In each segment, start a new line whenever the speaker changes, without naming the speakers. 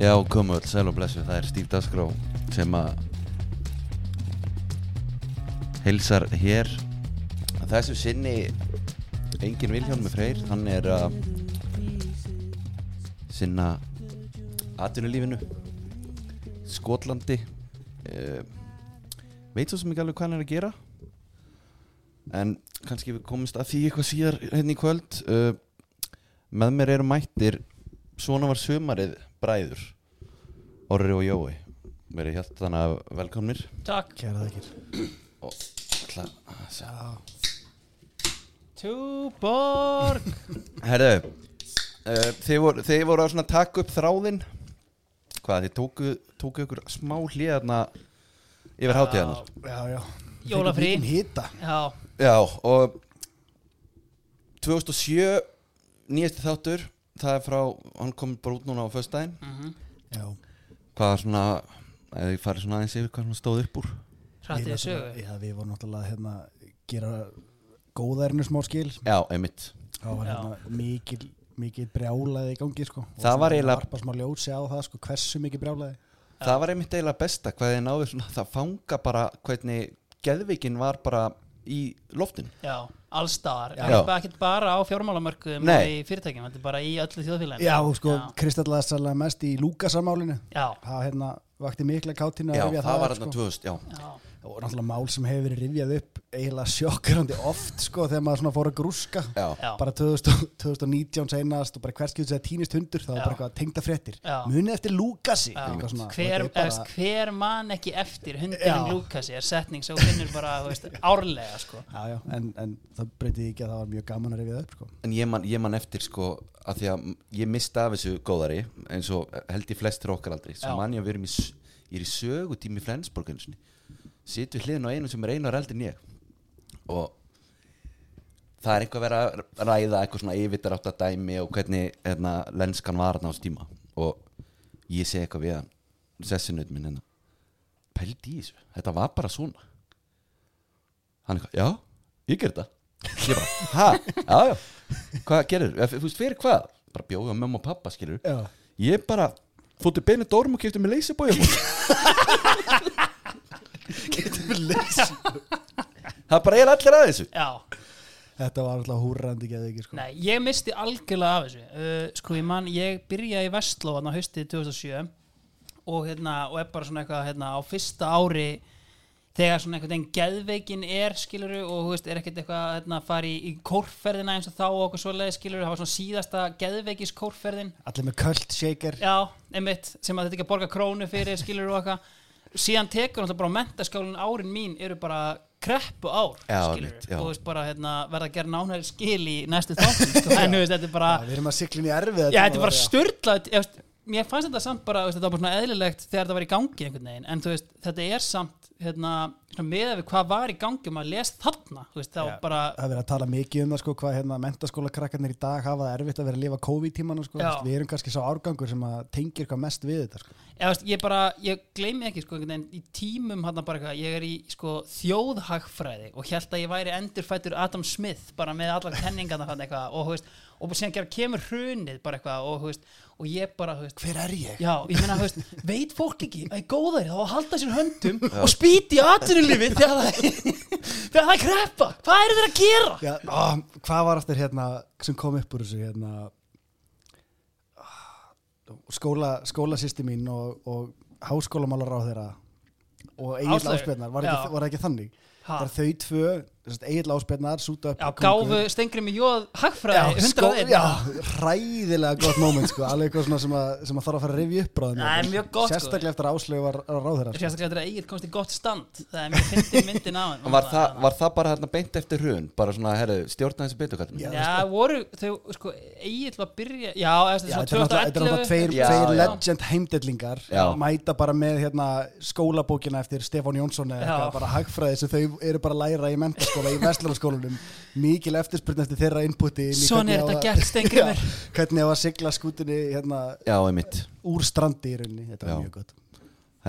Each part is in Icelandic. Já, komu öll, sæl og blessu, það er Stíf Dasgró sem að heilsar hér Að þessu sinni engin Vilhjálmi Freyr, hann er að sinna atvinnulífinu Skotlandi uh, veit svo sem ekki alveg hvað hann er að gera en kannski við komumst að því eitthvað síðar hérna í kvöld uh, með mér eru mættir svona var sumarið bræður Orri og Jói verið hjartan af velkomnir
Takk
Kæra þakir
og ætla að sjá
Túborg
Herðu, uh, þið, voru, þið voru að svona taka upp þráðinn Hvað, þið tóku, tóku ykkur smá hlýðarna yfir hátíðarnar
Já, já
Jólafrí.
Fengum hita
Já,
Já, og 2007 nýjasti þáttur Það er frá, hann kom bara út núna á föstudaginn
Já
Hvað svona, eða ég farið svona aðeins yfir hvað hann stóð upp úr
hrættið
Við
í sögu
náttúrulega- Já, við vorum náttúrulega hérna gera góðærinu smá skil
Já, einmitt
Það var
Já.
hérna mikil mikið brjálaði í gangi sko Og
Það var
svona
eiginlega-
varpað smá ljósi á það sko hversu mikið brjálaði
Það var einmitt eiginlega besta hvað þið náðu svona það fanga bara hvernig geðvikin var bara í loftin
Já, allstar
Já.
Ekki bara á fjármálamörkuðum
Nei.
og í fyrirtækjum Þetta er bara í öllu þjóðfélaginu
Já, sko,
Já,
kristallaði sérlega mest í Lúkasamálinu
já,
Það hérna vakti mikla kátina að
Já,
rifja
það sko. var
upp, sko.
þarna 2000, já
já.
Það voru náttúrulega mál sem hefur verið rifjað upp eiginlega sjokkrandi oft sko þegar maður svona fór að grúska
Já,
já.
bara 2000, 2019 seinast og bara hverskið sem týnist hundur það var
Já.
bara eitthvað tengda fréttir
Já.
munið eftir Lúkasi
Já.
Eitthvað svona.
hver,
Og þetta er
bara... hver man ekki eftir hundinum
Já.
Lúkasi er setning sem þú finnur bara þú veist, árlega sko.
bara, já, já, en, en það breytið ekki að það var mjög gaman að rifja það upp sko.
En ég man, ég man eftir sko að því að ég mista af þessu góðari eins og held ég flestir okkar aldrei svo
Já.
man ég að við erum í, s- ég er í sögutími í Flensborg einu sinni situ hliðin á einum sem er einu ára eldin ég og það er eitthvað að vera að ræða eitthvað svona yfirtar átt að dæmi og hvernig hérna, lenskan var þarna á stíma og ég segi eitthvað við hann sessinuð minn hérna pældi í þessu, þetta var bara svona hann eitthvað, já, ég ger þetta ég bara, hæ, já, já hvað gerir, þú veist fyrir hvað bara bjóði á mömmu og pappa, skilur
já,
ég bara, fóttu beinu dórum og kefti með leysibói það bara er allir að þessu
Já,
þetta var alltaf húrrandi geðið ekki sko.
Nei, ég misti algjörlega af þessu uh, sko ég man, ég byrjaði í Vestló á haustið 2007 og, hérna, og er bara svona eitthvað hérna, á fyrsta ári þegar svona einhvern veginn geðveikin er skiluru og þú veist, er ekkert eitthvað að hérna, fara í, í kórferðina eins og þá og okkur svoleiði skiluru, það var svona síðasta geðveikis kórferðin
allir með köld shaker
Já, einmitt, sem að þetta ekki að borga krónu fyrir skilur og eitthvað síðan tekur náttúrulega bara mentaskálin árin mín eru bara kreppu ár
Já,
skilurðu.
einmitt, já.
og þú veist bara hérna, verða að gera nánæri skil í næstu þáttum sko. en þú veist, þetta er bara
Já, við erum að siglin í erfið
já, þetta er bara styrlað ég fannst þetta samt bara, þú veist, þetta var bara svona eðlilegt þegar þetta var í gangi einhvern veginn en þú veist, þetta er samt hérna, svona meða við hvað var í gangi og maður les þarna þú veist, þá bara,
það er verið að tala mikið um það sko, hvað hérna, mentaskóla í dag hafa það erfitt að vera að lifa COVID-tímanu sko.
Já.
Þú veist, við erum kannski sá árgangur sem að tengir hvað mest við þetta sko.
ég, veist, ég bara, ég gleymi ekki sko, einhvern veginn, í tímum hann bara eitthvað ég er í sko, þjóðhagfræði og held að ég væri endurfættur Adam Smith bara með allar kenningarna hann eitthvað og, þú veist, og bara síðan gera- kemur hrunið bara eitthvað og, þú veist, og ég bara, þú veist
hver er ég?
Já, ég meina, þú veist, veit fólk ekki að ég góðari þá að halda sér höndum og spýti í atvinnulífi þegar það þegar það er kreppa, hvað eru þeir að gera?
Já, á, hvað var aftur hérna sem kom upp úr þessu hérna ah, skóla, skólasýsti mín og, og háskólamálar á þeirra og Egil
Áslaug.
Ásbjörnar var, ekki-
Já.
var það ekki þannig
Ha.
það er þau tvö, Egil Ásbjörnar súta upp
Já,
Kóngur.
gáfu stengri með jóð
Já,
hagfræði,
skó,
hundrað einn
já, ræðilega gott moment sko, alveg eitthvað svona sem að, sem að þarf að fara að rifja upp bráðum
Nei, mjög gott, sko.
sérstaklega eftir að Áslaug var ráðherra sko.
Sérstaklega þegar Egil komst í gott stand Það er mjög fyndið myndin á hann
var það, var það bara hérna beint eftir hrun bara svona, herru, stjórna þessu betur kallum
Já, voru, þau, sko, Egil var að byrja Já, eða
Já,
svona
þetta er náttúrulega þetta
2011
er náttúrulega tveir,
Já,
tveir
já.
legend heimdellingar
Já.
mæta bara með hérna, skólabókina eftir Stefán Jónsson eða
Já.
eitthvað, bara hagfræði sem þau eru bara að læra í mentaskóla í vestlunarskólanum mikil eftirspurn eftir þeirra inputi inn í
Svona er
hvernig á
þetta
að-
gert, Steingrímur.
Já, hvernig á að sigla skútunni hérna,
já, einmitt
úr strandi í rauninni þetta var
Já.
mjög gott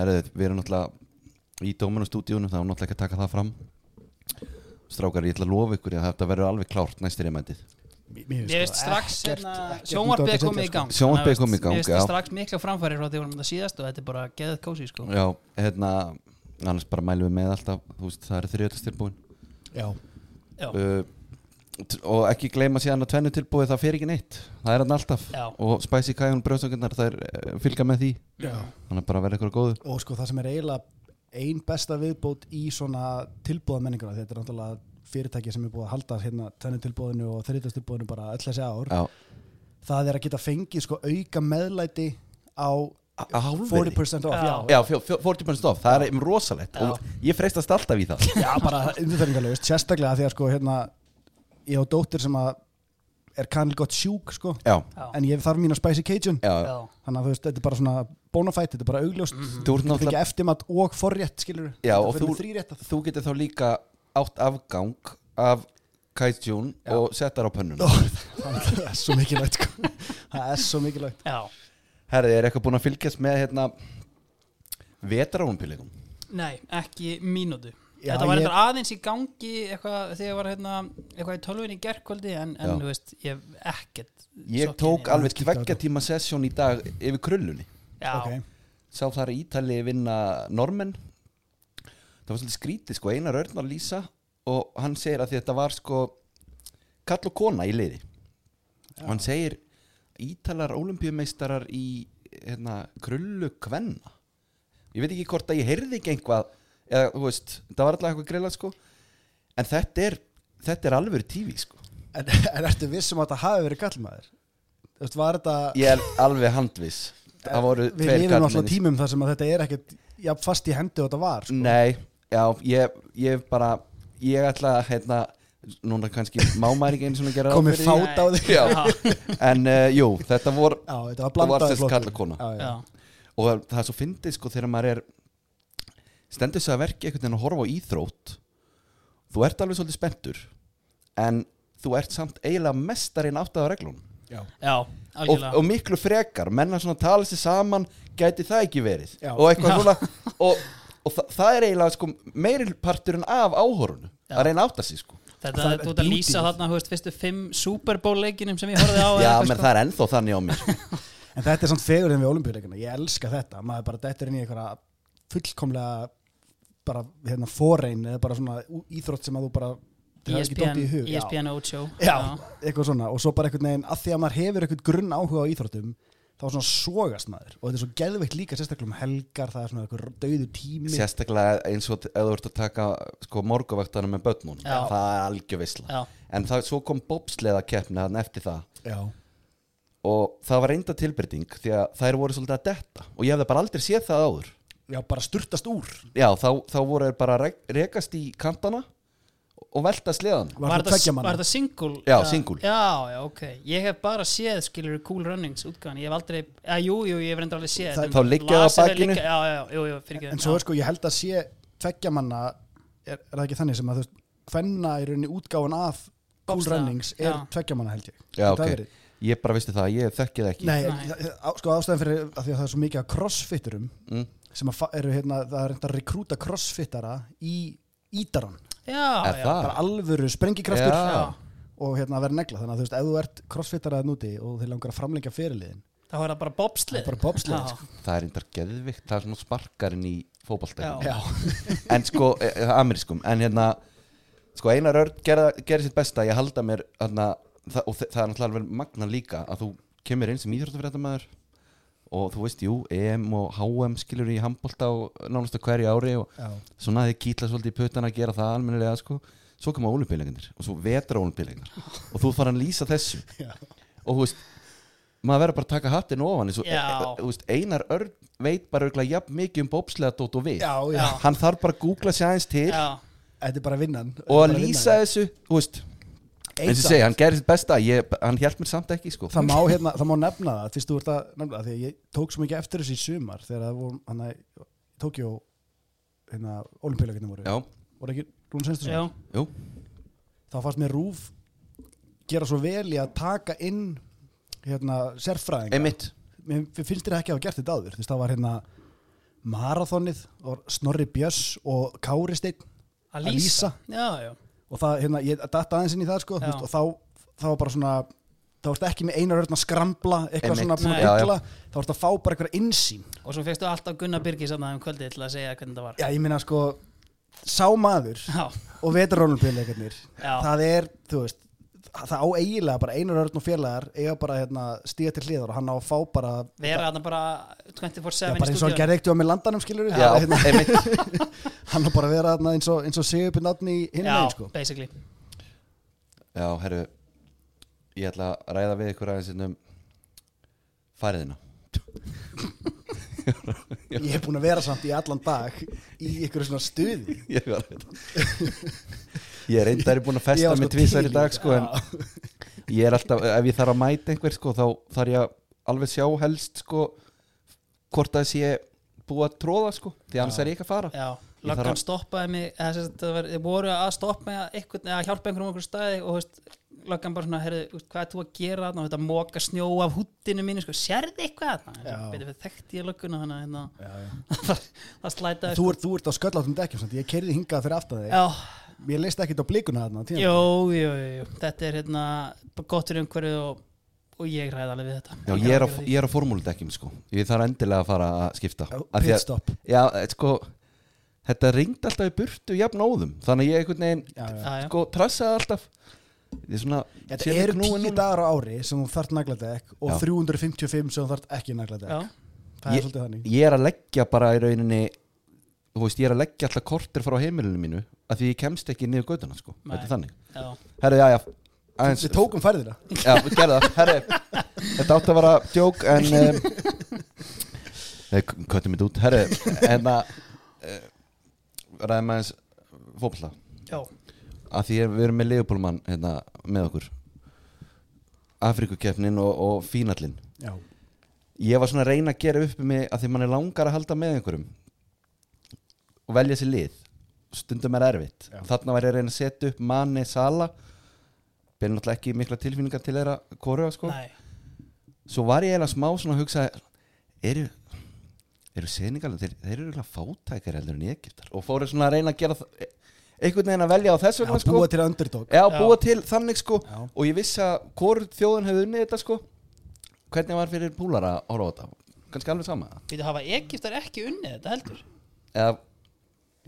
Herðu, við erum náttúrulega í Dóminustúdíunum, það er náttúrulega ekki að taka það fram Strákar, ég ætla að lofa ykkur að þetta verður alveg klárt næstir í mætið
Mér sko
Mér veist strax
ekkert-
hérna,
ekkert út á
sjónvarpið
þetta
er komið
setja,
í gang
sko. Sjónvarpið er
Þannig að
komið í gang,
Mér
já.
veist strax mikla framfæri frá því vorum þetta síðast og þetta er bara geðið kósi sko.
já, hérna annars bara mælum við með alltaf þú veist, það eru þriðjöldast tilbúin
Sko. Já,
Já,
uh, t- og ekki gleyma síðan að tvennu tilbúið það fer ekki neitt, það er hann alltaf
Já.
og Spicy Kajón brjóðsöngarnar þær eh, fylgja með því
Já.
þannig að bara verða ykkur góður
og sko það sem er eiginlega ein besta viðbót í svona tilbúða menninguna þetta er náttúrulega fyrirtæki sem er búið að halda hérna tenni tilbúðinu og þriðast tilbúðinu bara öll þessi ár
já,
það er að geta fengið sko auka meðlæti á
Á- á hálfverði?
40% off, já,
já fjó- fjó- 40% off, það er um rosalegt
Já.
og ég freistast alltaf í það
já bara umþörningalögust, sérstaklega af því að sko hérna ég á dóttir sem að er kannil gott sjúk sko
já,
já,
en ég þarf mína spicy cajun
já,
já,
já.
þannig að þú veist, þetta er bara svona bonafætt, þetta er bara augljóst mm
Þú ert
-hmm.
náttúrulega-
ekki eftirmat og forrétt skilur
Já, og þú-
þrýrétta
þú getur þá líka átt afgang af Kaijun og settar á pönnuna
Oh. það er svo mikilvægt sko. það er svo mikilvægt
já.
herði, er eitthvað búin að fylgjast með hérna vetarálumpilegum
Nei, ekki mínútu
Já,
Þetta var
ég-
ég... aðeins í gangi eitthvað, þegar ég var hérna, eitthvað í tölvunni gerkvöldi en, en
Já.
þú veist, ég hef ekkert
ég
sokkið
tók
niður.
alveg
kíkti á
tveggja tíma sessjón í dag yfir krullunni
Já,
okay.
sá þar Ítali vinna normenn það var svolítið skrítið sko Einar Örn að lýsa og hann segir að því þetta var sko kall og kona í liði og hann segir Ítalar olimpíumeistarar í hérna, krullu kvenna ég veit ekki hvort að ég heyrði ekki einhvað eða þú veist, það var alltaf eitthvað grilla sko en þetta er, þetta er alveg tífi sko
en, en ertu vissum að þetta hafi verið kallmaður þú veist, var þetta
ég er alveg handviss það voru
við lifum alltaf
karlmenn í-
tímum þar sem að þetta er ekkert jafn fast í hendi og þetta var sko.
Nei, já, ég, ég bara ég ætla að, hérna núna kannski má maður ekki einu svona gera ráð
komið
fyrir
fát á þig Mm, já,
Já, en uh, jú, þetta vor
þetta var
það var
blandaði
sérst kalla kona
já, já.
já,
og það er svo fyndið sko þegar maður er stendur sig að verki einhvern veginn að horfa á íþrótt þú ert alveg svolítið spenntur en þú ert samt eiginlega mestarinn áttað á reglunum
Já.
já,
og,
algjörlega
og miklu frekar menna svona tala sér saman gæti það ekki verið
Já.
og eitthvað
Já.
svona og, og það, það er eiginlega sko meiri parturinn af áhorunu
Já.
að reyna að átta sig sko
Þetta,
það
þú
er
ert að
beauty.
lýsa þarna, þú veist, fyrstu fimm Super Bowl leikinum sem ég horfði
já,
á eða eitthvað, sko.
menn það er ennþá þannig á mér sko.
en þetta er samt fegurinn við olimpíuleikana ég elska þetta, maður bara dettur inn í einhverja fullkomlega bara hérna forein eða bara svona ú- íþrótt sem að þú bara þér hefur ekki
ESPN,
dottið í hug. Já.
ESPN Ocho
Já, eitthvað svona og svo bara einhvern veginn að því að maður hefur einhvern grunn áhuga á íþróttum þá svona sogast maður og þetta er svo geðveikt líka sérstaklega um helgar það er svona einhver dauðu tími
sérstaklega eins og t- ef þú ert að taka sko morguvaktana með börnun
Já.
það er algjör visla
já,
en það, svo kom bobsleða keppni eftir það
Já,
og það var reynda tilbyrting því að þær voru svolítið að detta og ég hefði bara aldrei séð það áður
já, bara sturtast úr
já, þá, þá voru þær bara að rek- rekast í kantana og velta sleðan
Var þetta tveggja
þetta-
manna?
var þetta single?
Já,
Eða-
single.
Já, já, ok Ég hef bara séð, skilur, Cool Runnings útgáðan Ég hef aldrei, já, jú, jú, ég hef reyndar alveg séð
Það-
en
þá liggja það á
las er
bakinu?
líka- Já, já, já, jú, jú, fyrir ekki
En svo er sko, ég held að sé tveggja manna er, er það ekki þannig sem að þú veist hvenna í rauninni útgáfan af Cool
Bobsleða,
Runnings er
já.
tveggja manna held ég
Já,
Þetta
ok.
verið.
Ég bara visti það, ég þekki það ekki
Nei,
Nei.
það- á, sko ástæðan fyrir að því að það er svo mikið að crossfitterum
Mm.
sem að fa- eru hérna, það er reynd að rekrúta crossfittara í ítaran
Já,
Er
já,
það?
bara alvöru sprengikraftur
Já.
já
og hérna að vera negla þannig að þú veist, ef þú ert crossfittara að núti og þið langar að framlengja fyrirliðin
Það var það bara bobslið
bara bobslið sko.
Það er eindar geðvikt, það er svona sparkarinn í fótballstæðin
Já.
En sko, e, e, amerískum En hérna, sko Einar Örn gerða, gerði sitt besta, ég halda mér hérna, það, og þe- það er náttúrulega alveg magna líka að þú kemur inn sem íþróttafréttamaður og þú veist, jú, EM og HM skilur í handbólta og nánastu hverju ári og
Já.
svona þið kýtla svolítið í puttana að gera það almennilega sko svo koma ólimpíuleikindir og svo vetra ólimpíuleikindir og þú fara að lýsa þessu
Já.
og þú veist maður verður bara að taka hattin ofan eins og, e,
Já.
e, þú veist, Einar Örn veit bara örgulega jafn mikið um bópslega dót og við
já, já,
Já.
hann þarf bara að googla sér aðeins til
Já,
þetta er bara vinnan
og að lýsa þessu þú veist, eins og ég segi, hann gerir sitt besta ég, hann hjælt mér samt ekki sko
það má, hérna, það má nefna það fyrst þú ert að nefna það því að ég tók svo mikið eftir þessu í sumar þegar það voru hann að Tókjó hérna, olimpíuleikinu voru
já,
voru ekki Rún
já,
Sveinstinsson
jú,
þá fannst mér Rúf gera svo vel í að taka inn hérna, sérfræðinga
einmitt
mér finnst þér ekki að hafa gert þetta áður þú veist það var hérna marathonið og Snorri Björs og Kári Steinn
að
Að lýsa.
lýsa Já, já,
og það hérna, ég datt aðeins inn í það sko, þú
Já.
veist, og þá þá var bara svona þá ertu ekki með einar örn að skrambla eitthvað
Einmitt.
svona búin
Já, já.
að ykla þá ertu að fá bara eitthvað innsýn
og svo fegstu alltaf Gunnar Birgis að það um kvöldi til að segja hvernig það var
já, ég meina sko, sá maður
já,
og vetarólumpiðleikarnir
Já.
það er, þú veist það það á eiginlega bara einar örn og félagar eiga bara hérna, stíða til hliðar og hann á að fá bara
vera þarna bara 24-7
Já,
í
bara eins og hann
stúdíóinu.
gerði ekkert með landanum skilur
Já, einmitt
hann á bara að vera þarna eins og, eins og Sigurpinn Átni í hinn
já,
veginn sko.
basically
Já, herru Ég ætla að ræða við ykkur aðeins hérna um fariðina
Ég hef búin að vera samt í allan dag í ykkur svona stuði
Ég var hérna. Ég er reyndar búin að
Ég
festa
var
mig
sko
tvisar í
til í
dag
þetta.
sko en ég er alltaf, ef ég þarf að mæta einhver sko þá þarf ég að alveg sjá helst sko hvort að sé búið að tróða sko því annars er ég ekki að fara
já,
Ég þarf
löggan
að-
stoppaði mig eða sem sagt, það var- þeir voru að stoppa mig að, eitthvað, að hjálpa einhverjum okkur staði og þú veist, löggan bara svona, heyrðu, þú veist, hvað er þú að gera þarna og þetta moka snjó af húttinu mínu sko, sérði eitthvað þarna
Já.
betur við þekkti ég lögguna þannig að
já, já.
hérna, það slætaði
Þú, ert, þú ert á skölláttum dekkjum samt. ég kerði hingað fyrir aftan þig
já,
Mér leist ekkert á blikuna þarna á tíma.
jú, jú, jú, jú þetta er hérna, bara gott fyrir umhverju og, og ég ræði alveg við þetta
Já, ég er á, ég er á formúludekkjum sko Ég þarf endilega að fara að skipta
Já,
Af því að-
pitstop.
Já, eh, sko Þetta ringd alltaf í burtu jafn óðum Þannig að ég einhvern veginn
Já, já.
Já, já.
sko trassaði alltaf Ég er svona
Þetta
sé mig
eru
knúinn
tíu
núna.
dagar á ári sem þú þart nagladekk og
Já.
355 sem þú þart ekki nagladekk
já,
Það
Ég-
er svolítið þannig
Ég er að leggja bara í rauninni Þú veist, ég er að leggja alltaf kortir frá heimilinu mínu af Því ég kemst ekki niður göduna sko
Nei.
Þetta er þannig
já,
Herru, já, já aðeins,
Við tókum færðina
Já, við gerðum það Herru, þetta átti að vera djók En um, Nei, köttum mitt út Herru, en að uh, Ræðum aðeins fótbolta
já,
að því að við erum með Leopoldmann hérna, með okkur Afrikukeppnin og, og Fínallinn
Já,
ég var svona að reyna að gera upp um mig að því mann er langar að halda með einhverjum og velja sér lið stundum er erfitt
Já.
þarna var ég að reyna að setja upp manni sala byrði náttúrulega ekki mikla tilfinningar til þeirra kóruða sko
næ
svo var ég eiginlega smá svona að hugsa eru eru seningalum, þeir, þeir eru eiginlega fátækar heldur en Egiptar og fóru svona að reyna að gera það- einhvern veginn að velja á þessu
já
vegna sko
búa til underdog
Já,
Já.
búa til þannig sko
Já.
og ég vissi að hvort þjóðin hefði unnið þetta sko hvernig var fyrir púlar að horfa á þetta kannski alveg sama
Við hafa Egiptar ekki unnið þetta heldur
eða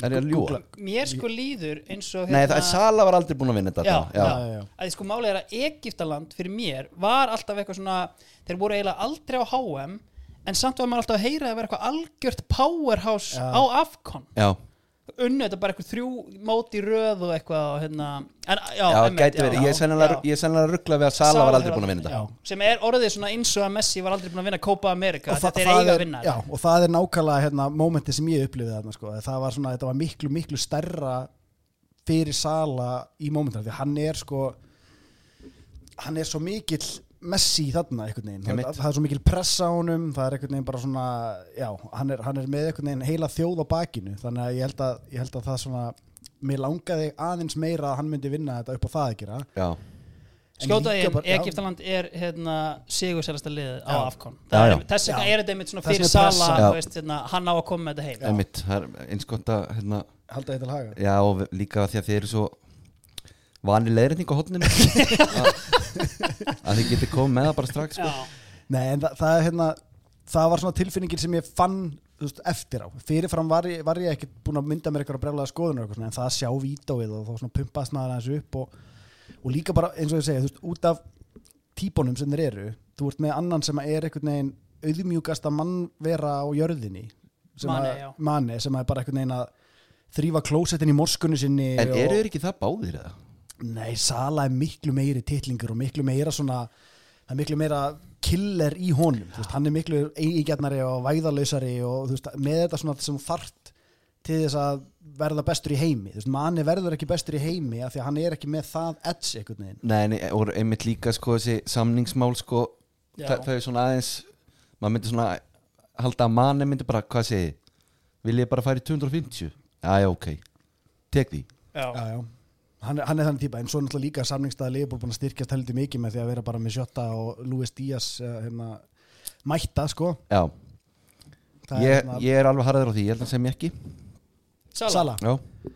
er ég að ljúa
Mér sko líður eins og hérna-
Nei, það er Sala var aldrei búin að vinna þetta
já,
þarna.
já.
Já, já, já.
Að sko málið er að Egiptaland fyrir mér var alltaf eitthvað svona þeir voru eiginlega aldrei á HM en samt var maður alltaf að heyra að vera eitthvað algjört powerhouse
Já.
á Afcon
já,
unnu þetta bara eitthvað þrjú mót í röð og eitthvað og hérna en, já,
já,
einmitt,
gæti
já,
verið ég er
já,
sennilega-
já.
ég er sennilega ruggla við að Sala var aldrei
hefur
búin að vinna
já,
þetta
sem er orðið svona eins og að Messi var aldrei búin að vinna Copa America
Og, þa
þetta er
það
eiga
er,
að vinna
já, og það er nákvæmlega hérna, mómenti sem ég upplifið þarna sko. það var svona, þetta var miklu, miklu stærra fyrir Sala í mómentar því hann er sko hann er svo mikill Messi í þarna einhvern veginn, það,
Einmitt.
það er svo mikil pressa á honum, það er einhvern veginn bara svona já, hann er, hann er með einhvern veginn heila þjóð á bakinu, þannig að ég held að, ég held að það svona, mér langaði aðeins meira að hann myndi vinna þetta upp á það að gera
já,
Skjótaði
líka
inn,
bara- já.
Egiptaland er hérna, sigurselasta liðið á
Já.
Afkon
Já, já.
Þess vegna
Já.
er þetta einmitt svona
Þess
fyrir
vegna
Sala
er pressa.
Já.
þú veist, hérna, hann á að koma með þetta heim
emitt, það er eins gott að hérna,
halda þetta til haga
já, og við- líka því að þið eru svo vanir leiðrætning á hotninu að, að þið getur komið með það bara strax sko.
Já.
Nei, en það, það, er hérna, það var svona tilfinningin sem ég fann þú veist, eftir á. Fyrirfram var ég, var ég ekki búin að mynda mér eitthvað brjálega skoðunar og eitthvað svona, en það að sjá vítóið og þá svona pumpaðst maður aðeins upp og, og líka bara eins og ég segja, þú veist, út af típunum sem þeir eru, þú ert með annan sem er einhvern veginn auðmjúkasta mannvera á jörðinni sem
Mane,
að-
já.
Mane, sem er bara einhvern veginn að þrýfa klósettin í morskunni sinni
en
og-
eru þeir ekki það báðir eða?
Nei, Sala er miklu meiri titlingur og miklu meira svona það er miklu meira killer í honum þú veist, hann er miklu eigingjarnari og væðalausari og þú veist, með þetta svona sem þart til þess að verða bestur í heimi þú veist, manni verður ekki bestur í heimi af því að hann er ekki með það edge einhvern veginn
Nei, nei, og einmitt líka sko þessi samningsmál sko
Já.
þa- þau er svona aðeins maður myndi svona halda að manni myndi bara, hvað segi vil ég bara fara í 250 já, já, ok, tek því
Já.
já, já. Hann, er- hann er þannig típa en svo náttúrulega líka samningstaða leifból búin að styrkjast heldur mikið með því að vera bara með Sjötta og Luis Díaz eh, hérna, mætta sko
já,
Það er
ég,
hérna-
ég er alveg harður á því, ég held að sem ég ekki
Sala.
Sala
já,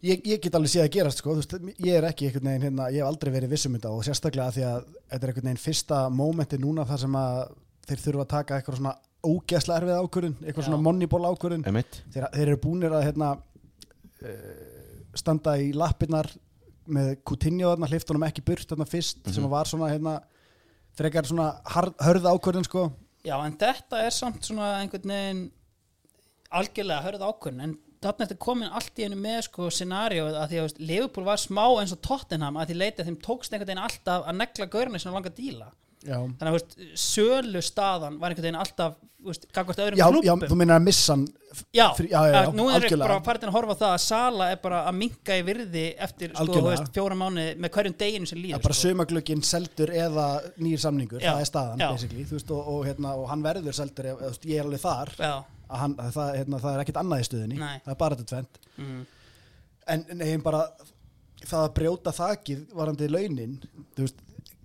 ég, ég get alveg séð að gerast sko, þú veist, ég er ekki einhvern veginn hérna, ég hef aldrei verið vissum þetta og sérstaklega af því að þetta er einhvern veginn fyrsta mómenti núna þar sem að þeir þurfa að taka eitthvað svona ógeðslega erfið ákvörun, eitthvað
Já.
svona moneyból ákvörun
Emitt
þeir, þeir eru búnir að hérna, uh, standa í lappirnar með Coutinho þarna, hliftunum ekki burt þarna fyrst sem var svona hérna, frekar svona harð, hörð ákvörðin sko
Já, en þetta er samt svona einhvern veginn algjörlega hörð ákvörn en þarna ertu komin allt í einu með sko scenarióið að því að þú veist, Liverpool var smá eins og Tottenham að því leiti að þeim tókst einhvern veginn alltaf að negla gaurinu sem langa díla
já,
þannig að þú veist, sölu staðan var einhvern veginn alltaf þú veist, gagvart öðrum
já, já
klúbbum
þú minnar að missa hann
já,
fyrir- já, já, já,
að nú er
algjörlega.
bara farin að horfa á það að Sala er bara að minka í virði eftir sko, þú
Algjörlega.
veist, fjóra mánu með hverjum deginu sem líður
Já, bara
sko.
sömaglögginn seldur eða nýr samningur,
Já,
það er staðan
já.
basically, þú veist, og, og, hérna, og hann verður seldur, ef, eða, þú veist, ég er alveg þar
já,
að hann, að það, hérna, það er ekkit annað í stöðinni
Nei.
það er bara þetta tvent
mm,
en neginn bara það að brjóta þakið varandi launin þú veist,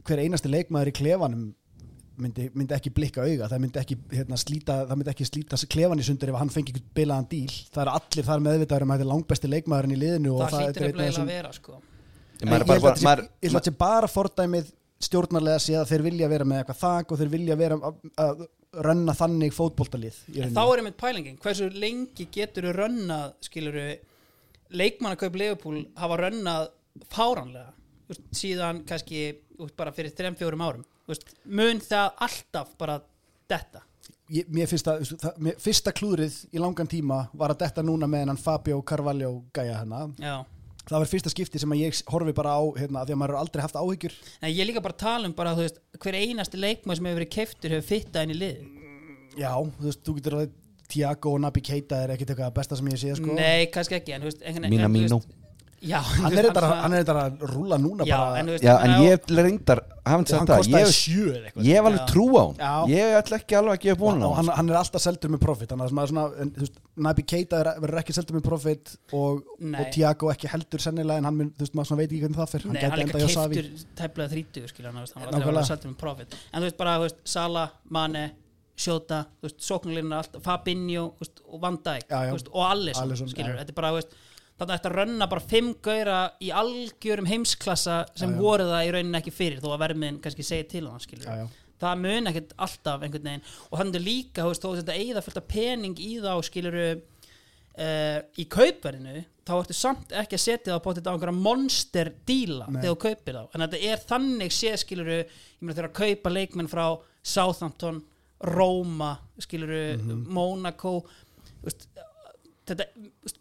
hver einasti leikmaður í klefanum myndi, myndi ekki blikka auga það myndi ekki, hérna, slíta, það myndi ekki slíta klefan í sundur ef hann fengi einhvern bilaðan díl það er allir þar meðvitaður um að þetta er langbesti leikmaðurinn í liðinu og
það
það
hlýtur
er
nefnilega
þessum-
að vera sko.
Ég maður er
Ég
bara,
held
bara,
að
maður,
þetta sé- ég held að þetta sé bara fordæmið stjórnarlega sé að þeir vilja vera með eitthvað þak og þeir vilja vera að, að rönna þannig fótboltalið
En
í rauninni.
þá er einmitt pælingin, hversu lengi getur þú rönnað, skilur þú leikmannakaup Leopold hafa rönnað fáránlega úst, síðan kannski úst, bara fyrir 3-4 árum úst, mun það alltaf bara detta
ég, mér finnst að það- mér- fyrsta klúrið í langan tíma var að detta núna með hennan Fabio Carvalho gæja hana
Já.
það var fyrsta skipti sem að ég horfi bara á hérna, af því að maður hefur aldrei haft áhyggjur
Nei, ég er líka bara að tala um bara, þú veist, hver einasti leikmann sem hefur verið keiftur hefur fitta inn í lið
já, þú veist, þú getur alveg Tiago og Nabi Keita er ekkit eitthvað besta sem ég sé sko.
Nei, kannski ekki en, þú veist, einhvern
Mina
en, þú
Mino
veist- Já,
hann er þetta að- hann er þetta að rúla núna
Já,
bara,
en þú veist
Já, en
hann er-
ég reyndar Hafum
og hann
sagt það
kostaði
Ég,
sjö eða eitthvað
ég var alveg
Já.
trú á hún
Já.
Ég ætla ekki alveg að gefa búin á
og hann,
hún
hann er alltaf seldur með profit þannig að maður svona, en, þú veist, Nabi Keita er- verður ekki seldur með profit og,
Nei.
og Tiago ekki heldur sennilega en hann mun, þú veist, maður svona veit ekki hvernig það fyrir
Nei, hann
gæti
líka
endað hjá Savi.
keiftur tæplega 30 skilja hann, þú veist, hann var aldrei að vera
Nákvæmlega.
sattur með profit en þú veist bara, þú veist, Sala, Mane Sjóta, þú veist, sóknulínuna allt, Fabinho, þú veist, og Van Dijk
Já, já.
þú veist, og Alisson,
Alisson,
skilur,
já.
þetta er bara, þú veist þannig að þetta rönna bara fimm gauðra í algjörum heimsklassa sem
Já, já.
voru það í rauninni ekki fyrir þó að vermiðin kannski segi til hann skilur
Já, já.
það mun ekkert alltaf einhvern veginn og þannig líka, þú veist, þó að þetta eigða fullt af pening í þá skilur uh, í kaupverðinu þá ertu samt ekki að setja það á potið á einhverja monster díla
Nei.
þegar þú kaupir þá en þetta er þannig séð skiluru ég meina þegar að kaupa leikmenn frá Southampton, Roma skiluru,
Mhm.
Monaco þú veist, þetta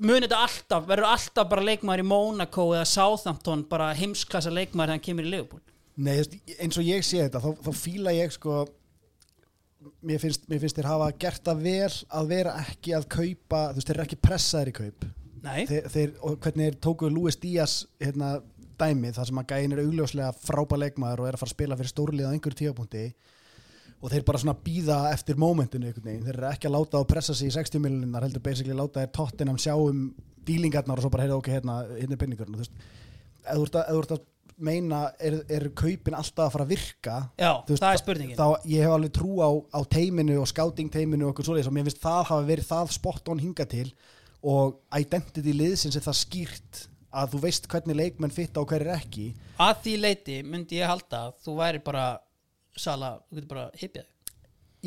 muni þetta alltaf, verður alltaf bara leikmaður í Monaco eða Southampton bara heimsklassa leikmaður þegar hann kemur í Liverpool
Nei, þú veist, eins og ég sé þetta þá, þá fíla ég sko mér finnst, mér finnst þeir hafa gert það vel að vera ekki að kaupa þú veist, þeir eru ekki pressaðir í kaup
Nei,
þeir, þeir, og hvernig þeir tókuðu Luis Díaz hérna, dæmið, þar sem að gæin er augljóslega frábæð leikmaður og er að fara að spila fyrir stórlið á einhverjum tíapunkti og þeir bara svona býða eftir mómentinu einhvern veginn, þeir eru ekki að láta að pressa sig í 60 miljonar, heldur basically láta þeir tottenham sjá um dílingarnar og svo bara heyrðu ok, hérna, hérna er peningurinn og þú veist, ef þú ert að, ef þú ert að meina, er, er kaupin alltaf að fara að virka
já,
þú veist,
það er spurningin
þá ég hef alveg trú á, á teiminu og scouting teiminu og okkur svoleiðis og mér finnst það hafa verið það spot on hinga til og identity liðsins er það skýrt að þú veist hvernig leikmenn fitta og hver er ekki
að því leiti myndi ég halda að þú væri bara sala, þú getur bara hippið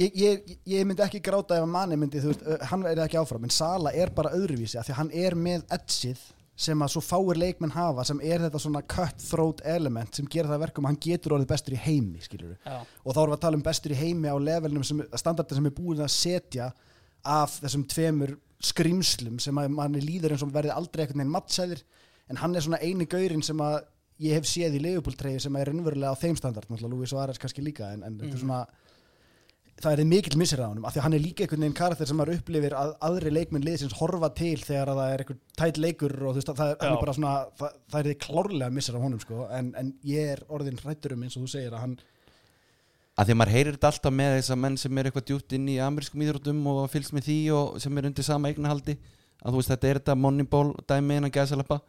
ég, ég, ég myndi ekki gráta ef að manni myndi, þú veist, ö, hann er ekki áfram en Sala er bara öðruvísi af því að hann er með edgið sem að svo fáir leikmenn hafa sem er þetta svona cutthroat element sem gerir það að verkum að hann getur orðið bestur í heimi skilur
Já.
og þá erum við að tala um bestur í heimi á levelnum sem, standardin sem er búin að setja af þessum tveimur skrimslum sem að manni líður eins og verði aldrei einhvern veginn mattsæðir en hann er svona eini gaurinn sem að ég hef séð í leifupúltreyju sem er raunverulega á þeim standard náttúrulega Lúi Svares kannski líka en, en þetta er svona það er mikill missir á honum af því að hann er líka einhvern veginn karakter sem maður upplifir að aðri leikminn liðsins horfa til þegar að það er einhver tætt leikur og þú veist að það er, hann
Já.
er bara svona það, það er þið klárlega missir á honum sko en, en ég er orðin hrættur um eins og þú segir að hann
að því að maður heyrir þetta alltaf með þess að menn sem er eitthvað djúpt inn í amerískum íþróttum og fylgst með því og sem er undir sama eignahaldi að þú veist þetta er þetta Moneyball dæmi innan gæðsalappa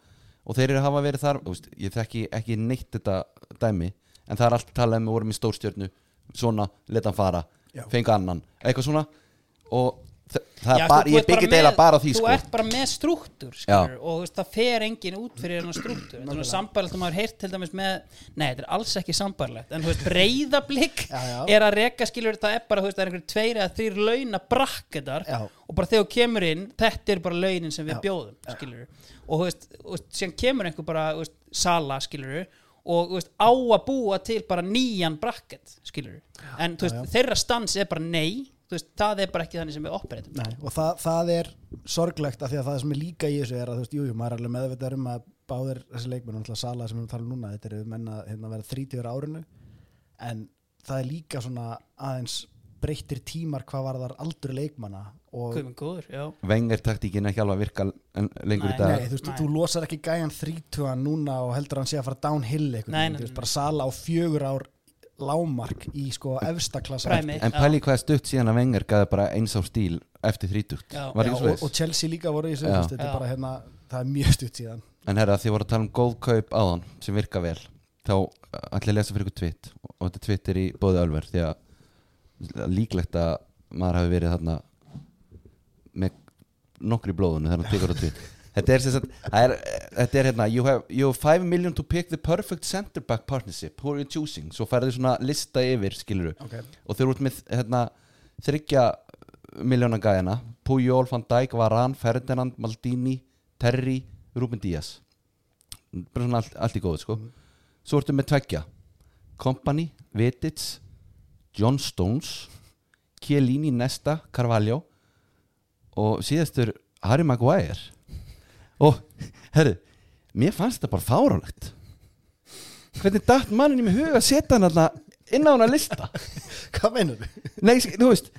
og þeir eru að hafa verið þar þú veist, ég þekki ekki neitt þetta dæmi en það er alltaf talað um við vorum í stórstjörnu svona, leta hann fara,
Já.
fengu annan eitthvað svona og Þa- það
Já,
er
sko,
bara,
þú
ég
ert bara
byggir
með-
deila bara á því
þú
sko
ert bara með strúktur skilur, og þú veist, það fer engin út fyrir hennar strúktur þetta er nú sambarlegt og maður heyrt til dæmis með nei, þetta er alls ekki sambarlegt en þú veist, breyðablík
Já, já.
er að reka skilur það er bara, þú veist, það er einhverjum tveir eða þrýr launa brakketar
Já.
og bara þegar þú kemur inn, þetta er bara launin sem við bjóðum skilur og þú veist, þú veist, síðan kemur einhver bara þú veist, sala skilur og þú veist, á að búa til bara nýjan brakket skilur en þú veist, þeirra stans er bara nei þú veist, það er bara ekki þannig sem við um. operetum
Nei, og það, það er sorglegt af því að það sem er líka í þessu er að þú veist, jú, jú, maður er alveg meðvitað um að báðir þessi leikmenn, alltaf Sala sem við erum að tala um núna, þetta eru menn að hérna, vera 30 ára árinu, en það er líka svona aðeins breyttir tímar hvað var þar aldur leikmanna og
Guðmund góður, já
vengar taktíkin ekki alveg að virka en- lengur
Nei.
í dag
Nei, þú veist,
Nei.
þú losar ekki gæjan 30 núna og heldur að hann sé að fara downhill einhvern
Nei,
veginn,
nei,
þú veist,
nei.
bara Sala á fjögur ár lámark í sko efsta klassa
Præmi.
en
Já.
pæli hvað er stutt síðan að vengar gaði bara eins á stíl eftir þrítugt
Já.
var
Já,
ekki
og,
svo
og Chelsea líka voru í þessu,
Já.
þú veist, þetta
Já.
er bara hérna, það er mjög stutt síðan
en herra því voru að tala um góð kaup áðan sem virka vel þá allir lesa fyrir ykkur tvitt og þetta tvitt er í bóði alver því að líklegt að maður hafi verið þarna með nokkri blóðunni þegar hann tekur á tvitt þetta er sem sagt það er, eh, þetta er hérna you have, you have 5 million to pick the perfect center back partnership who are you choosing svo færðu svona lista yfir skiluru
okay.
og þeir eru út með hérna, þryggja miljóna gæðina Pujol, Van Dijk, Varan, Ferdinand Maldini, Terry, Ruben Díaz bara svona allt, allt í góðu sko svo ertu með tveggja Kompany, Vitits John Stones Chiellini, Nesta, Carvalho og síðastur Harry Maguire og herru, mér fannst þetta bara fáránlegt hvernig datt manninum í huga að setja hann þarna inn á hann að lista
Hvað meinar þau?
Nei, sk- þú veist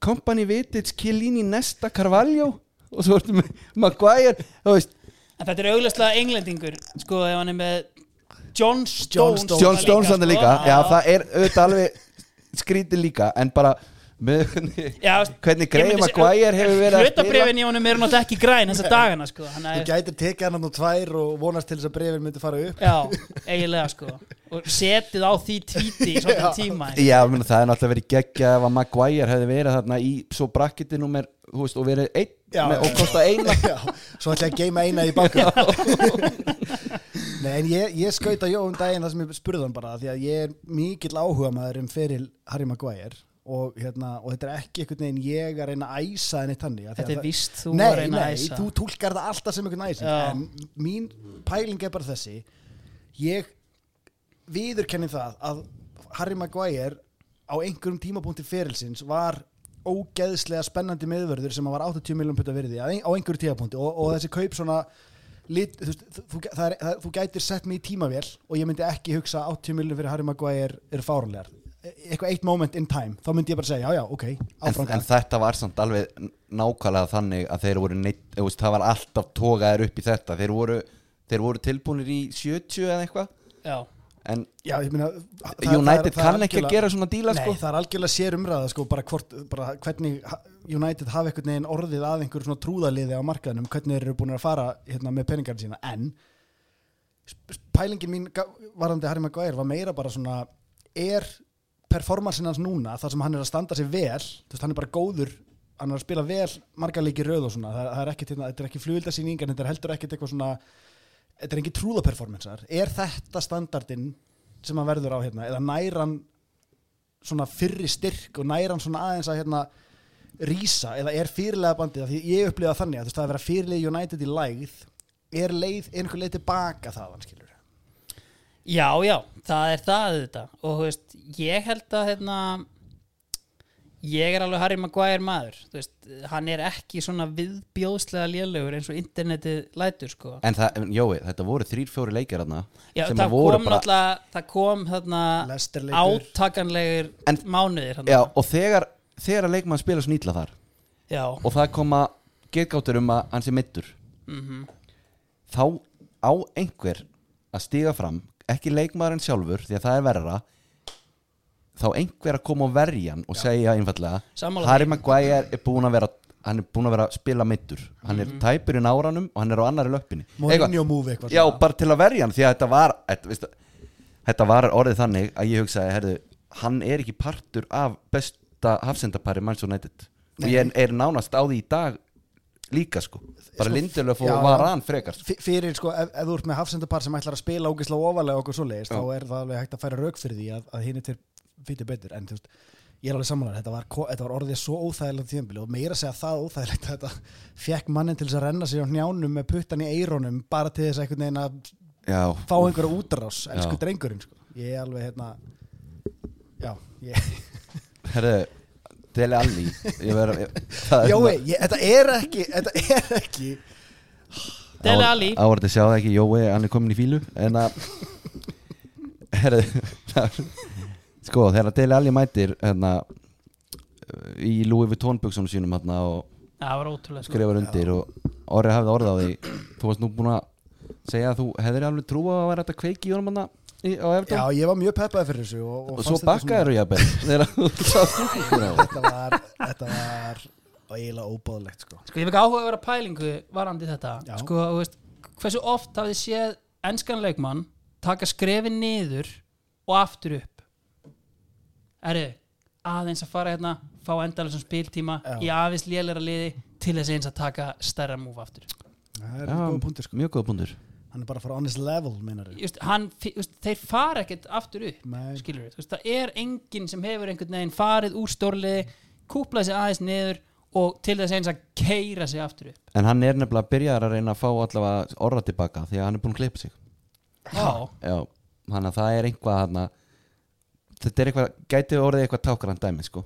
Kompany Vitits, Chiellini, Nesta, Carvalho og svo ertu með Maguire þú veist,
En þetta er auglastlega englendingur sko, ef hann er með John Stones
Stones.
John Stones hann er líka
sko.
já, það er auðvitað alveg skrítið líka en bara með
Já, veist,
hvernig
ég
Grey
myndi-
Maguire hefur verið að spila.
Hlutabrifin í honum er náttúrulega ekki græn þessa dagana sko, hann
Þú
er,
gætir tekið hann og tvær og vonast til þess að brefin myndi fara upp
Já, eiginlega sko og setið á því tvíti í svona tíma
Já, ég meina, það er náttúrulega verið geggja ef að Maguire hefði verið þarna í svo brakkiti númer, þú veist, og verið einn
Já,
með,
já,
og
já.
kostað eina
Já, svo ætla ég að geima eina í banka Nei, en ég, ég skauta jó um daginn það sem ég spurði hann bara því að ég er mikill áhuga maður um feril Harry Maguire og, hérna, og þetta er ekki einhvern veginn ég að reyna að æsa henni þannig af því að
Þetta er
það-
víst þú
nei,
að reyna að
nei,
æsa.
þú tólkar það alltaf sem einhvern æsing
Já.
en mín pæling er bara þessi ég viðurkenni það að Harry Maguire á einhverjum tímapunkti ferilsins var ógeðslega spennandi meðvörður sem að var 80 miljón putta virði á ein- á einhverju tímapunkti og, og þessi kaup svona lit, þú, veist, þú, þú- það er, það, þú gætir sett mig í tímavél og ég myndi ekki hugsa að 80 miljón fyrir Harry Maguire eru fárlegar eitthvað eitt moment in time þá myndi ég bara segja já já ok
en,
áfram
en
gang.
þetta var samt alveg n- nákvæmlega þannig að þeir voru neitt, þú veist, það var alltaf togaðir upp í þetta þeir voru, þeir voru tilbúinir í 70 eða eitthvað
Já,
en
já, ég meina, það- það-
United
það- það er
kann ekki að
algjörlega-
gera svona díla
Nei,
sko.
það er algjörlega sér umræða sko, bara, hvort, bara hvernig ha- United hafi einhvern veginn orðið að einhverjum svona trúðaliði á markaðinum, hvernig þeir eru búin að fara hérna, með peningarinn sína, en sp- sp- pælingin mín ga- varðandi Harry Maguire var meira bara svona er performansin hans núna þar sem hann er að standa sig vel, þú veist hann er bara góður hann er að spila vel marga leiki í röð og svona, það, það er ekkit, hérna, þetta er ekki flugildasýning en þetta er heldur ekkit eitthvað svona þetta er engin trúðaperformansar, er þetta standardin sem hann verður á hérna eða nær hann svona fyrri styrk og nær hann svona aðeins að hérna rísa eða er fyrirlega bandið af því ég upplifa þannig að þú veist það að vera fyrirlega United í lægð er leið einhver leið tilbaka það hann skilur
já, já það er það þetta og þú veist, ég held að hérna, ég er alveg Harry Maguire maður Þú veist, hann er ekki svona viðbjóðslega lélugur eins og internetið lætur sko.
en það, en Jói, þetta voru þrýr, fjóri leikir þarna
Já,
sem
það
að voru
kom
bara
náttúrulega það kom þarna
Leicester-leikur.
átakanlegir
En-
mánuðir hérna. þarna.
já, og þegar, þegar að leikmann spila svona ítla þar
já,
og það koma getgáttur um að hann sé mittur
Mhm.
þá á einhver að stiga fram ekki leikmaðurinn sjálfur því að það er verra þá einhver að koma og verja hann og segja einfallega
Sammála
Harry
því.
Maguire er búin að vera hann er búin að vera að spila mittur hann er
Mhm.
tæpur í náranum og hann er á annari löppinni
Mourinho move eitthvað
já
svona.
bara til að verja hann því að þetta var þetta, veist, þetta var orðið þannig að ég hugsaði herðu, hann er ekki partur af besta hafsendapari manns og nættið og ég er nánast á því í dag líka sko bara
Sko,
Lindelöf og
já, já.
Varan frekar sko.
F- fyrir sko, ef, ef þú ert með hafsendapar sem ætlar að spila ógislega ofalega okkur svo leiðist, þá er það alveg hægt að færa rauk fyrir því að, að hinn er til fyrir betur, en þú veist ég er alveg samanlega, þetta var, ko- þetta var orðið svo óþægilegt tíðanbili og meira að segja það óþægilegt að þetta fekk mannin til þess að renna sér á njánum með puttan í eirónum bara til þess að einhvern veginn að
já,
fá einhverja útrás, elsku
Já.
drengurinn sko. ég er alveg hérna já, ég,
herru Dele Alli ég ver, ég, það er hérna-
Jói,
svona-
ég, þetta er ekki þetta er ekki
Dele
Á-
Alli
ávarði sjá það ekki, Jói, hann er komin í fílu en að herru sko, þegar Dele Alli mætir hérna í Louis Vuitton buksunum sínum hérna og
Það var ótrúlega sko.
skrifar undir og orðið hafði orð á því þú varst nú búin að segja að þú hefðir alveg trúa að vera þetta kveiki í honum hann á
já,
eftir
ég var mjög peppaði fyrir þessu og, og
og
fannst
svo
þetta svona-
bakkaður þú jafnvel þegar þú sá stúkuna á
þetta var, þetta var eiginlega óbáðlegt sko.
sko, ég fikk áhuga að vera pælingu varandi þetta
Já.
sko, þú veist, hversu oft hafið þið séð enskan leikmann taka skrefin niður og aftur upp Erðu, aðeins að fara hérna fá endalarsum spiltíma
Já.
í aðeins lélera liði til þess eins að taka stærra múf aftur
það er góð punktur
Já,
sko.
mjög góða punktur
hann er bara að fara on his level meinar
Just, hann, fi- just, þeir fara ekkert aftur upp
Nei.
skilur við, það er enginn sem hefur einhvern veginn farið úr stórliði kúplaði sig aðeins niður og til þess eins að keira sig aftur upp
en hann er nefnilega að byrja að reyna að fá allavega orða tilbaka því að hann er búin að klippa sig
Já,
já, þannig að það er einhvað hann þetta er eitthvað, gæti orðið eitthvað tákran dæmi sko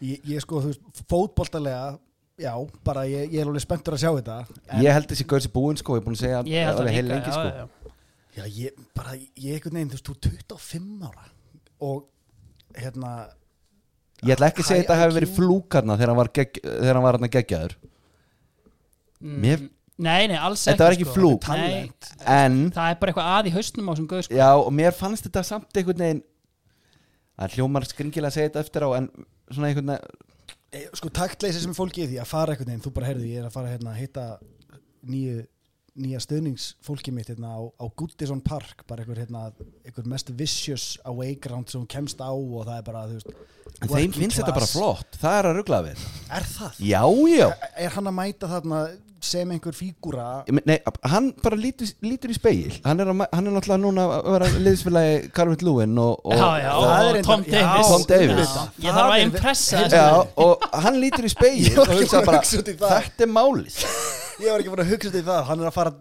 ég, ég sko, þú veist, fótboltalega já, bara ég, ég er alveg spenntur að sjá þetta en
ég held þessi gaur sér búinn sko, ég er búin að segja
ég held það
alveg heil
líka
lengi
já,
sko
já, já.
já, ég, bara, ég einhvern veginn, þú veist, þú er 25 ára og hérna
ég ætla ekki að segja
High
þetta hefur
IQ.
verið flúkarna þegar hann var, gegg, þegar hann var hann geggjaður Mér-
Mm, Nei, nei, alls ekki
Þetta var ekki
sko.
flúk.
Nei,
talent
en
Það er bara eitthvað að í hausnum á sem gauð sko.
Já, og mér fannst þetta samt einhvern veginn að hljómar skringilega að segja þetta eftir á en svona einhvern veginn
Eh, sko, taktleysi sem er fólki í því að fara einhvern veginn, þú bara heyrðu, ég er að fara hérna að hitta nýju nýja stöðningsfólki mitt hérna á, á Goodison Park, bara einhver hérna einhver mest vicious away ground sem hún kemst á og það er bara, þú veist
en
working
þeim finnst þetta bara
class.
flott, það er að ruggla við þetta.
Er það?
Já, já
Er hann að mæta þarna sem einhver fígúra
Ég meina, Nei, hann bara lítur, lítur í speil hann er, að, ma- hann er náttúrulega núna að vera liðsfélagi Carvin Lúin og, og,
Já, já,
og,
það
og
er reyndar-
Tom
já,
Davis,
Tom Davis.
Já, Ég
Það
þarf að
er-
impressa
já,
þessu
og hann lítur í
Ég
speil
var
og
ekki
hugsa
búinn að
bara,
hugsa út í það.
þetta er málið
Ég var ekki búin að hugsa til það, hann er að fara að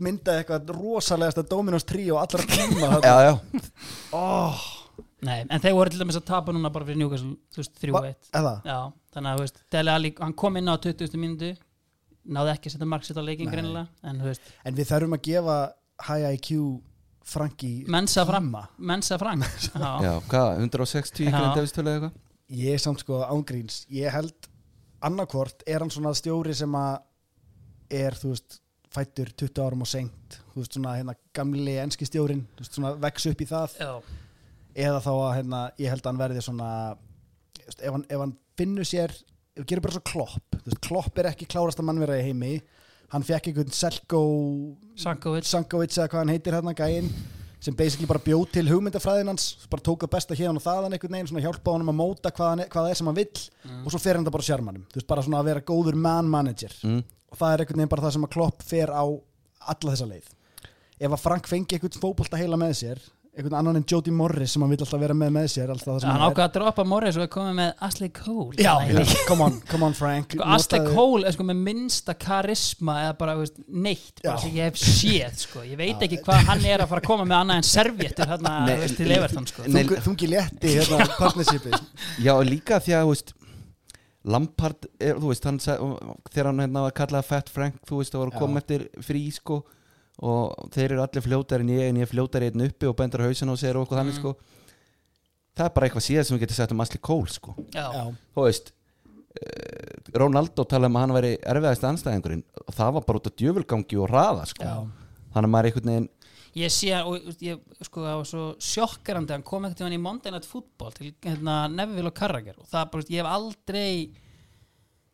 mynda eitthvað rosalegasta Dominos 3 og allra tíma þarna.
Já, já,
Nei, en þeir voru til dæmis að tapa núna bara fyrir Newcastle þú veist,
Va-
3-1
Er það?
Já, þannig að þú veist, Dele Alli, hann kom inn á 20. mínútu náði ekki að setja mark sitt á leikin
Nei.
greinilega, en þú veist,
En við þurfum að gefa High IQ Franki
mensa fram
tíma.
mensa fram já,
já, hvað, 160
Já.
ykkur en Davis tölulega eitthvað
Ég er samt sko ángríns Ég held annarkvort er hann svona stjóri sem að er þú veist fættur 20 árum og seint þú veist svona hérna gamli enski stjórin þú veist svona vex upp í það
já,
eða þá að hérna ég held að hann verði svona þú veist, ef hann, ef hann finnur sér ef hann gerir bara svo klopp þú veist klopp er ekki klárasta mannverða í heimi hann fekk einhvern Selko
Sankovic
Sankovic eða hvað hann heitir hérna gæinn sem basically bara bjóð til hugmyndafræðin hans bara tók það besta hér og þaðan einhvern veginn svona hjálpa honum að móta hvað, hann, er- hvað það er sem hann vill og svo fer hann það bara sjarmanum þú veist bara svona að vera góður man manager
Mm.
og það er einhvern veginn bara það sem að Klopp fer á alla þessa leið ef að Frank fengi einhvern fótbolta heila með sér einhvern annan en Jody Morris sem hann vill alltaf vera með með sér alltaf það sem
hann ákvað að droppa Morris og er komið með Ashley Cole
Já,
Þannig að-
já, come on, come on Frank
Sko, Asli
Notaðu-
Cole er sko með minnsta karisma eða bara veist, neitt bara
Já.
sem ég hef séð sko. ég veit ekki hvað hann er að fara að koma með annað en serviettur hérna
Nei,
veist, til Everton sko.
Nei,
Þungi- þungi létti hérna partnershipi
Já, líka því að, þú veist Lampard, er, þú veist, hann sag, þegar hann hérna var kallað Fat Frank þú veist, það var að koma
Já.
eftir frí, sko og þeir eru allir fljótari en ég en ég er fljótari einn uppi og bendar hausin og segir okkur
Mm.
þannig, sko það er bara eitthvað síðan sem við getum sett um Asli Cole, sko
já.
Já,
þú veist eh, Ronaldo talaði um að hann væri erfiðast anstæðingurinn og það var bara út af djöfulgangi og raða, sko
Já.
þannig að maður einhvern veginn
ég sé að- og veist, ég, sko, það var svo sjokkarandi hann kom ekkert í hann í Monday Night Football til hérna, Neville og Carragher og það er bara, veist, ég hef aldrei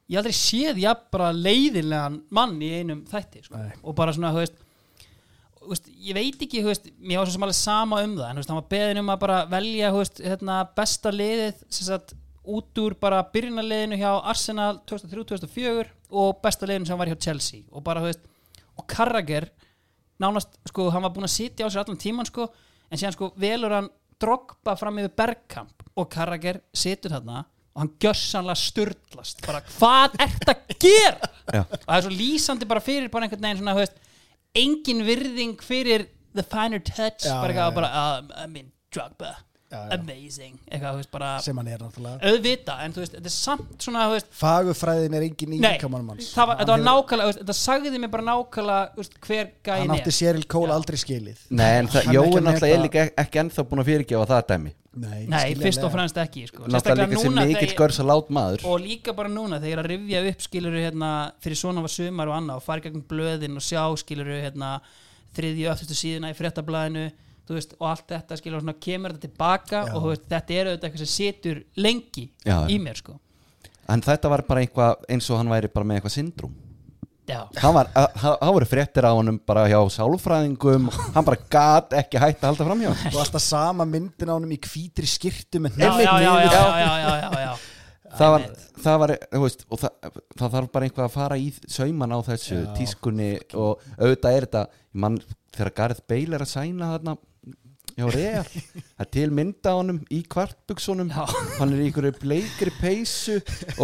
ég hef aldrei séð jafn bara leiðinlegan mann í einum þætti sko.
Nei.
og bara svona, þú veist þú veist, ég veit ekki, þú veist, mér var svo sem alveg sama um það en þú veist, hann var beðin um að bara velja þú veist, hérna, besta liðið sem sagt, út úr bara byrjunarleginu hjá Arsenal 2003-2004 og besta leginu sem hann var hjá Chelsea og bara, þú veist, og Carragher nánast, sko, hann var búinn að sitja á sér allan tíman, sko, en síðan, sko, velur hann drogba fram yfir Bergkamp og Carragher situr þarna og hann gjörsanlega sturdlast bara, hvað ert að gera?
Já.
og það er svo lýsandi bara fyrir bara einhvern veginn svona, þú veist, engin virðing fyrir the finer touch
Já,
bara
já,
eitthvað,
já.
bara, uh, I mean, drogba
Já, já.
amazing, eitthvað, þú veist, bara
sem hann er náttúrulega
auðvita, en þú veist, þetta er samt svona, þú veist,
fagurfræðin er engin í
nei,
líkamanum hans
það var,
Hann
þetta var
hefur-
nákvæmlega, þú veist, þetta sagði mér bara nákvæmlega, þú veist, hver gæin
hann átti
er.
Cyril Cole aldrei skilið
Nei, en það,
Hann er ekki
Jói
að
náttúrulega er
meta-
líka ekki ennþá búin að fyrirgefa það dæmi
nei,
Nei,
skiljanlega.
fyrst og fremst ekki, sko.
Náttúrulega
Sérstaklega
líka sem
núna
mikill
þegar-
görs að lát maður
og líka bara núna þegar ég er að rifja upp skiluru hérna fyrir svona var sumar og annað og fara í gegnum blöðin og sjá skiluru hérna þriðju öftustu síðuna í fréttablaðinu þú veist, og allt þetta skilur svona kemur þetta tilbaka
Já.
og þú veist, þetta er auðvitað eitthvað sem situr lengi
Já,
í
já.
mér sko
En þetta var bara eitthvað eins og hann væri bara með eitthvað syndrúm
Já,
Það var- að- það- það voru fréttir á honum bara hjá sálfræðingum Hann bara gat ekki hægt að halda fram hjá hann
og alltaf sama myndin á honum í hvítri skirtu með
já,
hnefinn
já, já, já,
niður.
já, já, já, já, já.
það var, það var þú veist, og það, það þarf bara einhvað að fara í sauman á þessu
Já.
tískunni og auðvitað er þetta mann, þegar Gareth Bale er að sæna þarna já, real það er til mynda á honum í kvartbuksunum
Já.
hann er í einhverju bleikri peysu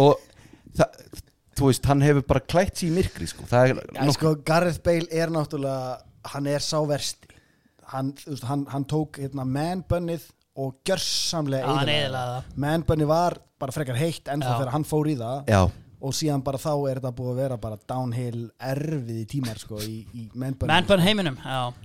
og það, þú veist, hann hefur bara klætt sér í myrkri sko. það er
En sko, Gareth Bale er náttúrulega hann er sá versti hann, þú veist, hann, hann tók hérna, manbunnið og
Já,
gjörsamlega
hann eyðilagði
manbunnið var bara frekar heitt ennþá
Já.
þegar hann fór í það
já,
og síðan bara þá er þetta búið að vera bara downhill erfiði tímar sko í, í manbunnið
mennbönn heiminum já.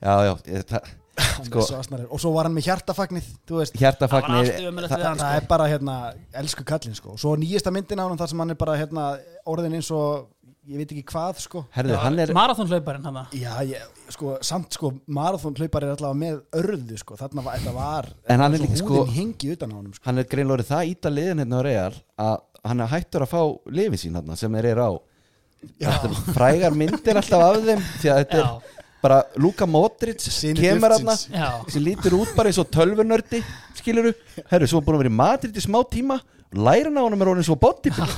já, já ég- það,
sko.
sko,
svo asnarir. og svo var hann með hjartafagnið þú veist
Það var
hjartafagnir
allt ömurlegt
það-
við hann. sko.
það er bara hérna, elsku kallinn sko og svo nýjasta myndin á hann þar sem hann er bara hérna, orðin eins og, ég veit ekki hvað sko
herðu, hann er
marathonhlauparinn hann það.
Já, ég, sko, samt sko marathon hlaupar er allavega með örðu sko, þarna var, þetta var
En hann er
svo
líka, sko-
húðin hengi utan á honum sko.
hann er greinlega orðið það íta liðin hérna á Real að hann er hættur að fá lifið sín hann sem þeir eru á Þetta er frægar myndir alltaf af þeim því að þetta
Já.
er bara Luka Modric
Synir
kemur hann
duftsins.
Já.
sem lítur út bara eins og tölvunördi skiluru, herru, svo er búin að vera í Madrid í smá tíma, lærin á honum er orðin svo bodybuilder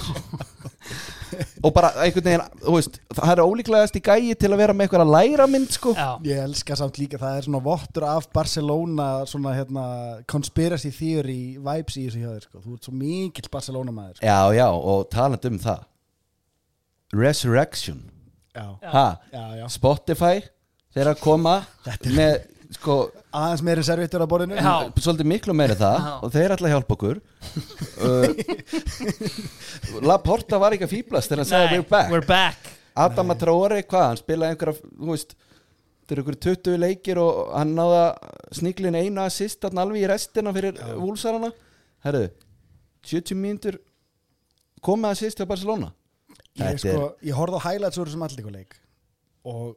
og bara einhvern veginn, þú veist það er ólíklegast í gæi til að vera með eitthvað læra mynd sko,
Já.
ég elska samt líka, það er svona vottur af Barcelona, svona hérna conspiracy theory vibes í þessu hjá þér sko, þú ert svo mikill Barcelona maður sko.
já, já, og talandi um það Resurrection
já.
ha,
Já, já.
Spotify þeir að koma með sko,
aðeins meiri servitur á borðinu
Já.
svolítið miklu meiri það
Já.
og þeir ætla að hjálpa okkur uh, Laporta var ekki að fýblast þegar hann sagði
Nei,
we're back
we're back
Adam Traore, hvað, hann spilaði einhverja þú veist, þeir eru einhverju 20 leikir og hann náða sniglin eina assist þarna alveg í restina fyrir vúlsarana herru, 70 mínútur komið assist hjá Barcelona
ég,
Þetta er-
sko, ég horfði á highlights úr þessum allíkuleik og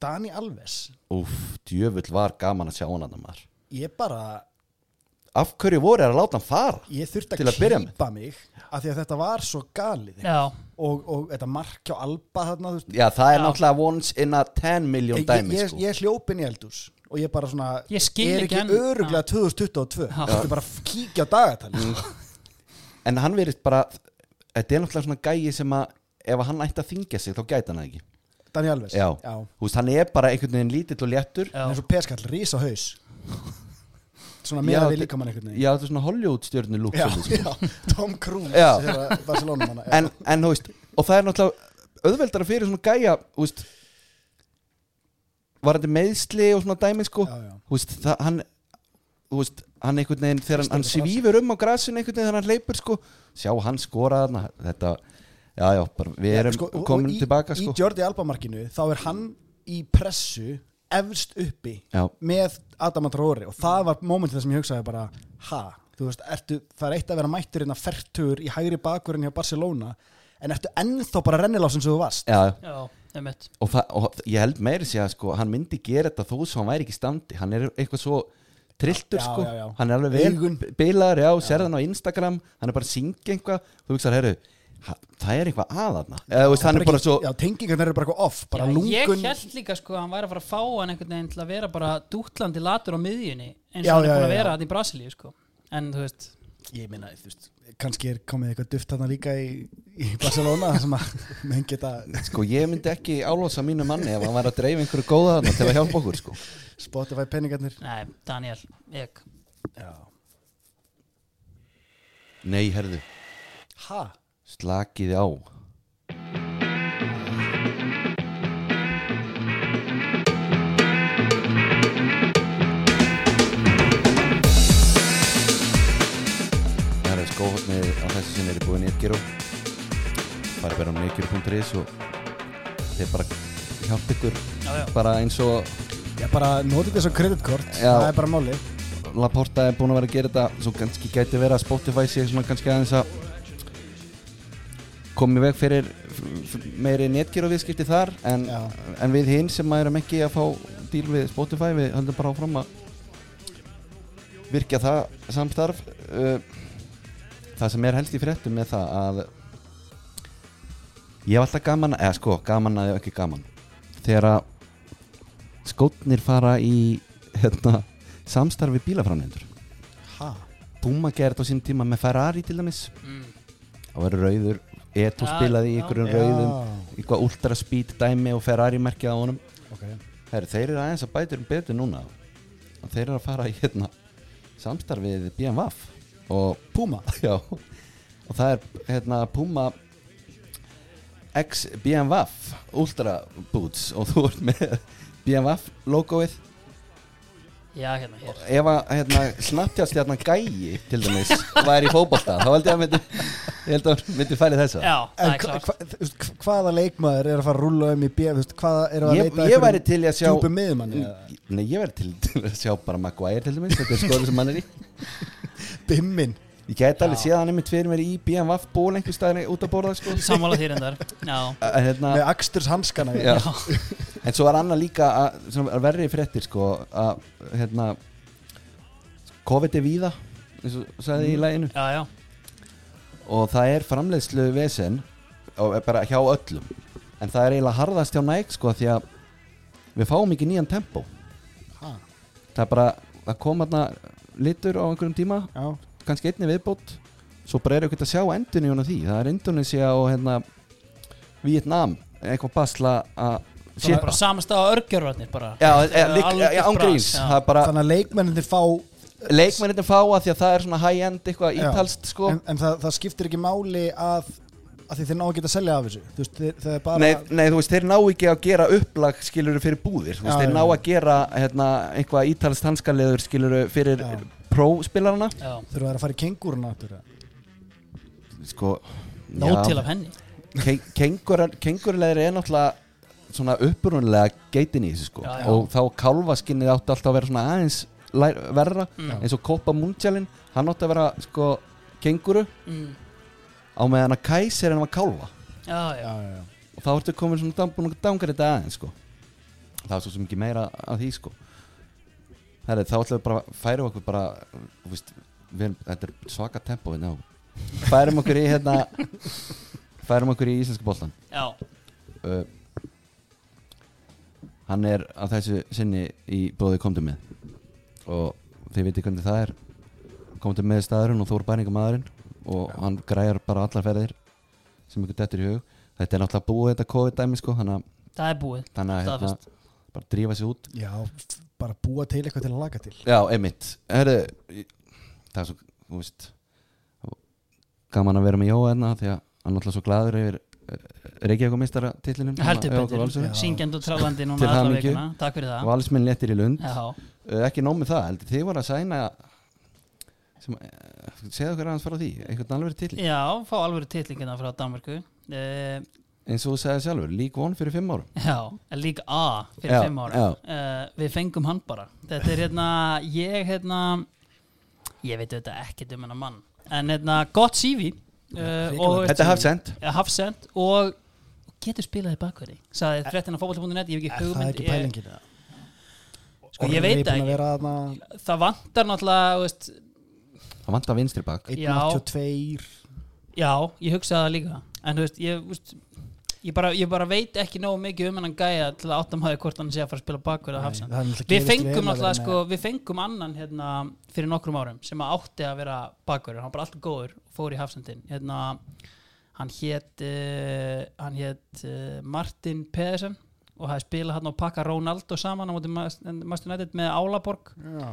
Dani Alves
Úff, djöfull var gaman að sjá hann að maður
ég bara,
af hverju voru þeir að láta hann fara
ég þurfti
Til
að,
að byrja með.
klípa mig af því að þetta var svo galið
já,
og, og þetta mark hjá Alba þarna, þú veist,
Já, það er
Já.
náttúrulega once in a 10 million dæmi
ég, ég,
sko.
ég hljóp inn í eldús og ég bara svona
Ég skil
er
ekki
ekki
enn-
öruglega 2022
Já.
þetta er bara að kíkja á dagatal
Mm. En hann verið bara Þetta er náttúrulega svona gæi sem að Ef hann ætti að þingja sig, þá gæti hann það ekki
Daniel Alves
Já,
Já.
þú veist, hann er bara einhvern veginn lítill og léttur
já.
hann er svo peskall, rísa haus svona meira
Já,
við
þe-
líka mann einhvern veginn
Já, þetta er svona Hollywood stjörnu lúk
já,
svolítið, sko.
já, Tom Cruise
Já.
þegar að Barcelona manna já.
en, en þú veist, og það er náttúrulega Auðveldara fyrir svona gæja Þú veist Var þetta meðsli og svona dæmi sko
Já, já.
Þú veist, það, hann Þú veist, hann einhvern veginn Þegar hann, hann
Stelur bara
svífur um á grasinu einhvern veginn Þegar hann leipur sko, sjá hann skora þarna Þetta, já, já, bara, við erum
sko, og- og
komin
í-
tilbaka sko
í Jordi Alba markinu þá er hann í pressu efst uppi
Já.
með Adam Traore og það var mómentið sem ég hugsaði bara ha, þú veist, ertu, það er eitt að vera mættur en að fertur í hægri bakurinn hjá Barcelona en ertu ennþá bara rennilásin sem þú varst
Já, já
já, einmitt
og, það, og ég held meiri sé að sko, hann myndi gera þetta þó svo hann væri ekki í standi hann er eitthvað svo trilltur
Já,
sko.
já, já.
hann er alveg
Augun.
vel bilaður, já, sérðan á Instagram hann er bara að syngja eitthvað þú veist að herru, ha- það er eitthvað aðaðna eða þú veist, hann er bara svo
já, tengingarnir eru bara eitthvað off bara
Já,
lungun
Ég held líka sko að hann væri að fara að fá hann einhvern veginn til að vera bara dútlandi latur á miðjunni eins og
Já,
hann er
já,
búin að
já, já.
vera hann í Brasilíu sko en þú veist
ég meina, þú veist, kannski er komið eitthvað duft þarna líka í, í Barcelona þar sem að menn geta
Sko ég myndi ekki álósa mínu manni ef hann var að dreifa einhverju góða þarna til að hjálpa okkur sko.
Spotify peningarnir
nei, Daniel, ég
Já.
Nei, herðu,
ha,
slakiði á Það er skóhóttnið á þessu sinni er búin Netgyro bara vera á netgyro.is og þeir bara hjálpa ykkur
já, já,
bara eins og
ég bara notið þess að kreditkort
Já.
það er bara máli
Laporta er búin að vera að gera þetta svo kannski gæti vera að Spotify sé svona kannski aðeins að komi veg fyrir f- f- meiri netgjöru viðskipti þar en,
Já.
en við hinn sem erum ekki að fá díl við Spotify við höldum bara áfram að virkja það samstarf uh, það sem er helst í fréttum með það að ég hef alltaf gaman eða sko, gaman að ég ekki gaman þegar að skótnir fara í hérna, samstarfi bílaframlendur
ha,
Puma gerði þetta á sín tíma með Ferrari til dæmis
mm,
það var rauður, Eto
Já,
spilaði í
já.
einhverjum
Já.
rauðum eitthvað ultra speed dæmi og Ferrari merkið á honum
ok
Her, þeir eru aðeins að bæta um betur núna og þeir eru að fara í hérna, samstarfið við BMW og
Puma,
Já, og það er hérna Puma X BMW Ultra Boots og þú ert með BMW logoið
já, hérna, hér
ef að hérna, snabbtjást hérna gæi til dæmis væri í fótbolta þá held ég að myndi, ég held að myndi færi þessa
já, það
en
er
hva,
klart
hva, þú veist, hva- hvaða leikmaður er að fara að rúla um í bíð, þú veist, hvaða er að
ég,
leita
ég væri til í að sjá
djúpum miðjumanni eða
Nei, ég væri til, til að sjá bara Maguire til dæmis þetta er skoður sem hann er í Mm.
bimmin
ég gæti alveg
Já.
séð að hann er mitt fyrir mér í BMW ból einhver staðar út að borða sko.
sammála þér endar, já
Að, hérna,
með aksturs hanskana
Já. En svo var annað líka að, svona, að verri fréttir sko að hérna COVID er víða eins og sagði
Mhm.
í læginu
já, já,
og það er framleiðslu vesen og er bara hjá öllum en það er eiginlega harðast hjá næg sko því að við fáum ekki nýjan tempo
Ha,
það er bara að koma þarna litur á einhverjum tíma
já,
kannski einni viðbót svo bara er ekkert að sjá endunni hún á því það er Indonesia og hérna Vietnam eitthvað basla að
það er bara samastað á örgjörvarnir bara
Já, e,
Það er
lík,
algjört
já, án
bras,
gríns
já.
Það er bara
þannig að leikmenninni fá
leikmennin fá að því að það er svona high-end eitthvað
Já.
ítalst sko
en, en það, það skiptir ekki máli að, að því þeir ná ekki að selja af þessu þú veist, þeir, það er bara
nei, nei, þú veist, þeir ná ekki að gera upplag skiluru fyrir búðir Þú veist,
Já,
Þeir
já,
ná
já.
að gera hérna, eitthvað ítalst hanskaleður skiluru fyrir
Já.
próspilarana
já,
þurfa þeir að fara í kengúruna áttur
Sko
nóg til af henni
Kengurleður er náttúrulega svona upprunlega geitin í þessu sko
Já, já.
og þá kálfaskinnið átti alltaf að vera svona aðeins lær, verra
Mm.
eins og Koppa Munjalin, hann átti að vera sko kenguru
mm,
á meðan að kæsir en var kálfa
já, já,
já, já, já.
og þá ertu komin svona dam- búin að dangar þetta aðeins sko. það er svo sem ekki meira að því sko. Herri, þá ætlum við bara færum okkur bara þú veist, við erum, þetta er svaka tempo ná. færum okkur í hérna færum okkur í íslenska boltan
já,
uh, hann er á þessu sinni í bóði komdu með og þið veitir hvernig það er komdu með staðurinn og þú er bæningamæðurinn og hann græjar bara allar ferðir sem ykkur dettur í hug þetta er náttúrulega búið þetta COVID-dæmi sko þannig að-
það er búið
þannig að hérna,
Staðfest.
bara drífa sér út
já, f- bara búa til eitthvað til að laga til
já, einmitt Heru, það er svo, þú veist gaman að vera með Jóa hérna því að hann er náttúrulega svo gladur yfir eh, hérna, Reykjavík og meistara titlinum
heldur betur, syngjandi og trálandi núna
Til
alla
hamingju.
vikuna, takk fyrir það
Valsmenn léttir í lund
já,
uh, ekki nóg með það, heldur þið voru að sæna sem, uh, segðu okkur aðeins frá því einhvern alveg til,
já, fá alveg titlingina frá Danmarku uh,
eins og þú segði sjálfur League One fyrir fimm árum
já, líka A fyrir
Já,
fimm ára
já.
uh, við fengum hann bara þetta er hérna, ég hérna ég veit þetta ekkert um hennar mann en hérna, gott CV uh, og
Þetta er hafsend
Ja, hafsend og og getur spilað í bakverði sagði fréttina fótbolti.net, ég hef ekki
það er
hugmynd
ekki
ég-
pælingin eða?
Sko, ég
Orri
veit
búinn að
ekki.
vera þarna
það vantar náttúrulega þú veist,
það vantar vinstri bak
Já.
182
já, ég hugsaði það líka en þú veist, ég þú veist, ég bara, ég bara veit ekki nógu mikið um hennan gæja til að áttamæði hvort hann sé að fara að spila bakverð að hafsan
það er
við
náttúrulega gerist vel
fengum
að
náttúrulega
vera með-
sko, við fengum annan hérna, fyrir nokkrum árum sem að átti að vera bakverður, hann var bara alltaf góður og fór í hafsendin hérna, hann hét uh, hann hét uh, Martin Pedersen og hafði spilað hann og pakka Ronaldo saman á móti Master United með Álaborg
Já.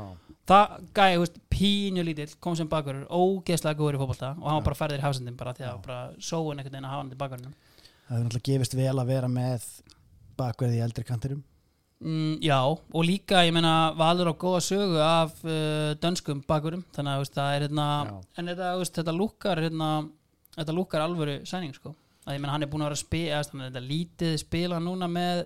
það gæði, þú veist, pínu lítill kom sem bakverður, ógeðslega góður í fótbolta og hann var bara færðir í hafsendin bara því að bara sóun einhvern veginn að hafa hann til bakverðinum
það er náttúrulega gefist vel að vera með bakverði í eldri kantirum
Mm, já, og líka, ég meina, Valur á góða sögu af uh, dönskum bakurum, þannig að þú veist, það er hérna,
Já.
en þetta, þú veist, þetta lúkar hérna, þetta lúkar alvöru sæning, sko, að ég meina, hann er búin að vera að spila, þannig að þetta lítið spila núna með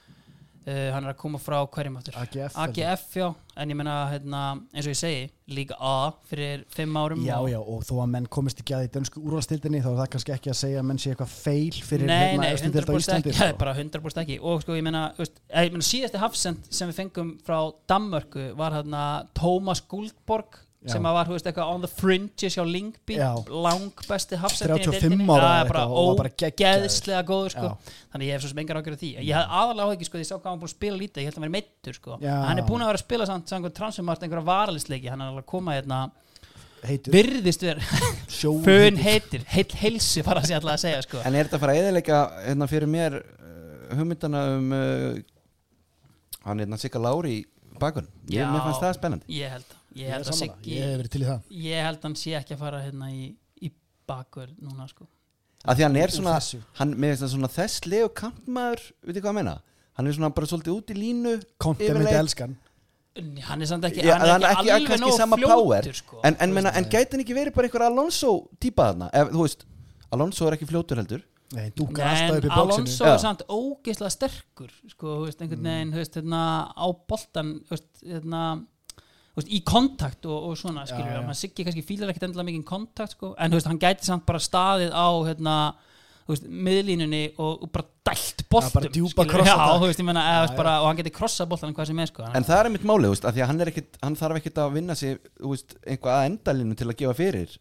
uh, hann er að koma frá hverjum aftur
AGF,
AGF, já, en ég meina, hérna eins og ég segi, líka A fyrir fimm árum
Já,
um og-
já, og þó að menn komist ekki að í dönsku úrvalstildinni þá er það kannski ekki að segja að menn sé eitthvað feil fyrir
nei, nei,
efstu deild á
100% ekki,
Íslandi,
það er
sko.
bara 100% ekki og sko, ég meina, þú veist, eh, ég meina síðasti hafsend sem við fengum frá Danmörku var hérna Tómas Guldborg
Já.
sem að var, þú veist, eitthvað on the fringes hjá Lingby,
Já.
lang besti hafsend
35 ára
það
eða
er bara
eitthvað og var bara geggjaður.
ógeðslega góður sko. þannig að ég hef svo sem engar ágjörð því ég hef aðalega áhyggjur, sko, því ég sá hvað hann búin að spila lítið ég held að hann verið meittur, sko
Já.
En hann er búin að vera að spila samt, samt transfermart einhverja varalistleiki, hann er alveg að koma hérna
heitur,
virðist verið,
sjó-
fön heitir heill heilsu bara að ég ætla að segja, sko
En er þetta að fara að eðilega hérna fyrir mér uh, hugmyndana um uh, hann hérna Sigga Lári í bakun Ég,
Já.
mér fannst það spennandi
Ég held, það. ég
Ég er
held að
sammála,
Siggi
ég hef verið til í það
ég held hann sé ekki að fara hérna í, í bakvörð núna sko
að Því hann er
Úr
svona,
þessu.
hann, mér finnst það svona þesslegu kantmaður, veit þið hvað að menna Hann er svona bara svolítið út í línu
Konti myndi
yfirleitt.
elskan
Nei, hann er samt ekki,
Já,
hann er ekki alveg
kannski
nóg
sama power,
fljótur sko
En, en, meina, en gæti hann ekki verið bara einhver Alonso típa þarna ef, Þú veist, Alonso er ekki fljótur heldur
Nei, dúkar alltaf
en
upp í bóksinu
Alonso er
Já. Mm.
samt ógeðslega sterkur sko, þú veist, einhvern veginn, þú veist, hérna á boltan, þú veist, hérna þú veist, í kontakt og, og svona
Já,
skilur,
já.
já, já. Siggi kannski fílar ekkit endilega mikið kontakt sko, en þú veist, hann gæti samt bara staðið á hérna þú veist, miðlínunni og, og bara dælt boltum
bara djúpa
skilurðu.
krossatak.
Já, þú veist, ég meina, eða, þú
Já,
veist, bara, og hann geti krossa boltan hvað sem er sko,
En það er mitt máli, þú veist, að því að hann, er ekkit, hann þarf ekkit að vinna sig, þú veist, einhvað að endalínu til að gefa fyrir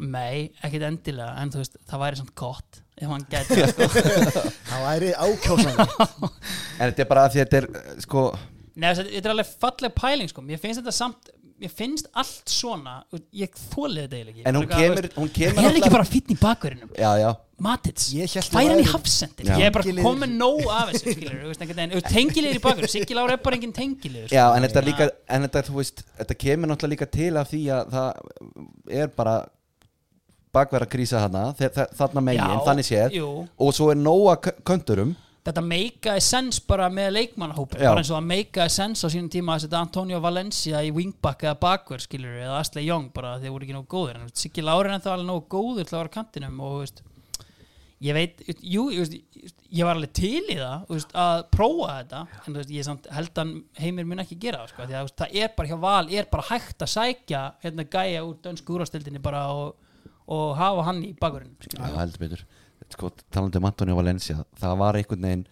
Nei, ekkit endilega en þú veist, það væri samt gott ef hann gæti það, sko.
Það væri ákjósan
En þetta er bara að því að þetta er, eh, sko
Nei, þess að þetta er alveg falleg pæling sko. Mér finnst þetta samt Mér finnst allt svona og Ég þólið þetta eiginlega ekki
En hún
Frekar,
kemur,
þú veist,
hún kemur
Það er
náttúrulega-
ekki bara fýtn í bakverðinum
Já, já
Matits,
Ég hélt
færi
þú
hann í
værir-
hafsendir
Já.
Ég er bara
Tengiliður.
komin nóg af þessu skilur, veist, einhvern veginn, Þú veist, Tengilegir í bakverðinum Siggi Lára er bara sko. engin tengilegur
Já, en þetta er líka, en þetta, þú veist, þetta kemur náttúrulega líka til af því að það er bara bakverða krísa þarna, þe- þe- þarna megin, þannig séð
jú,
og svo er nóa könturum
Þetta meikaði sens bara með leikmannahópin
Já.
bara eins og það meikaði sens á sínum tíma að setja Antonio Valencia í wingback eða bakverð skilur eða Asli Young bara því þeir voru ekki nógu góðir en þú veist, Siggi Lárin en það var alveg nógu góður til að vera á kantinum og þú veist, ég veit jú, ég, veist, ég var alveg til í það þú veist, að prófa þetta en þú veist, ég samt held að heimir mun ekki gera það, sko, því að þú veist, það er bara hjá val er bara hægt að sækja hérna gæja úr dönsku úrvastildinni bara og, og hafa hann í bakverðinu
Já, heldur betur sko, talandi um Antonio Valencia það var einhvern veginn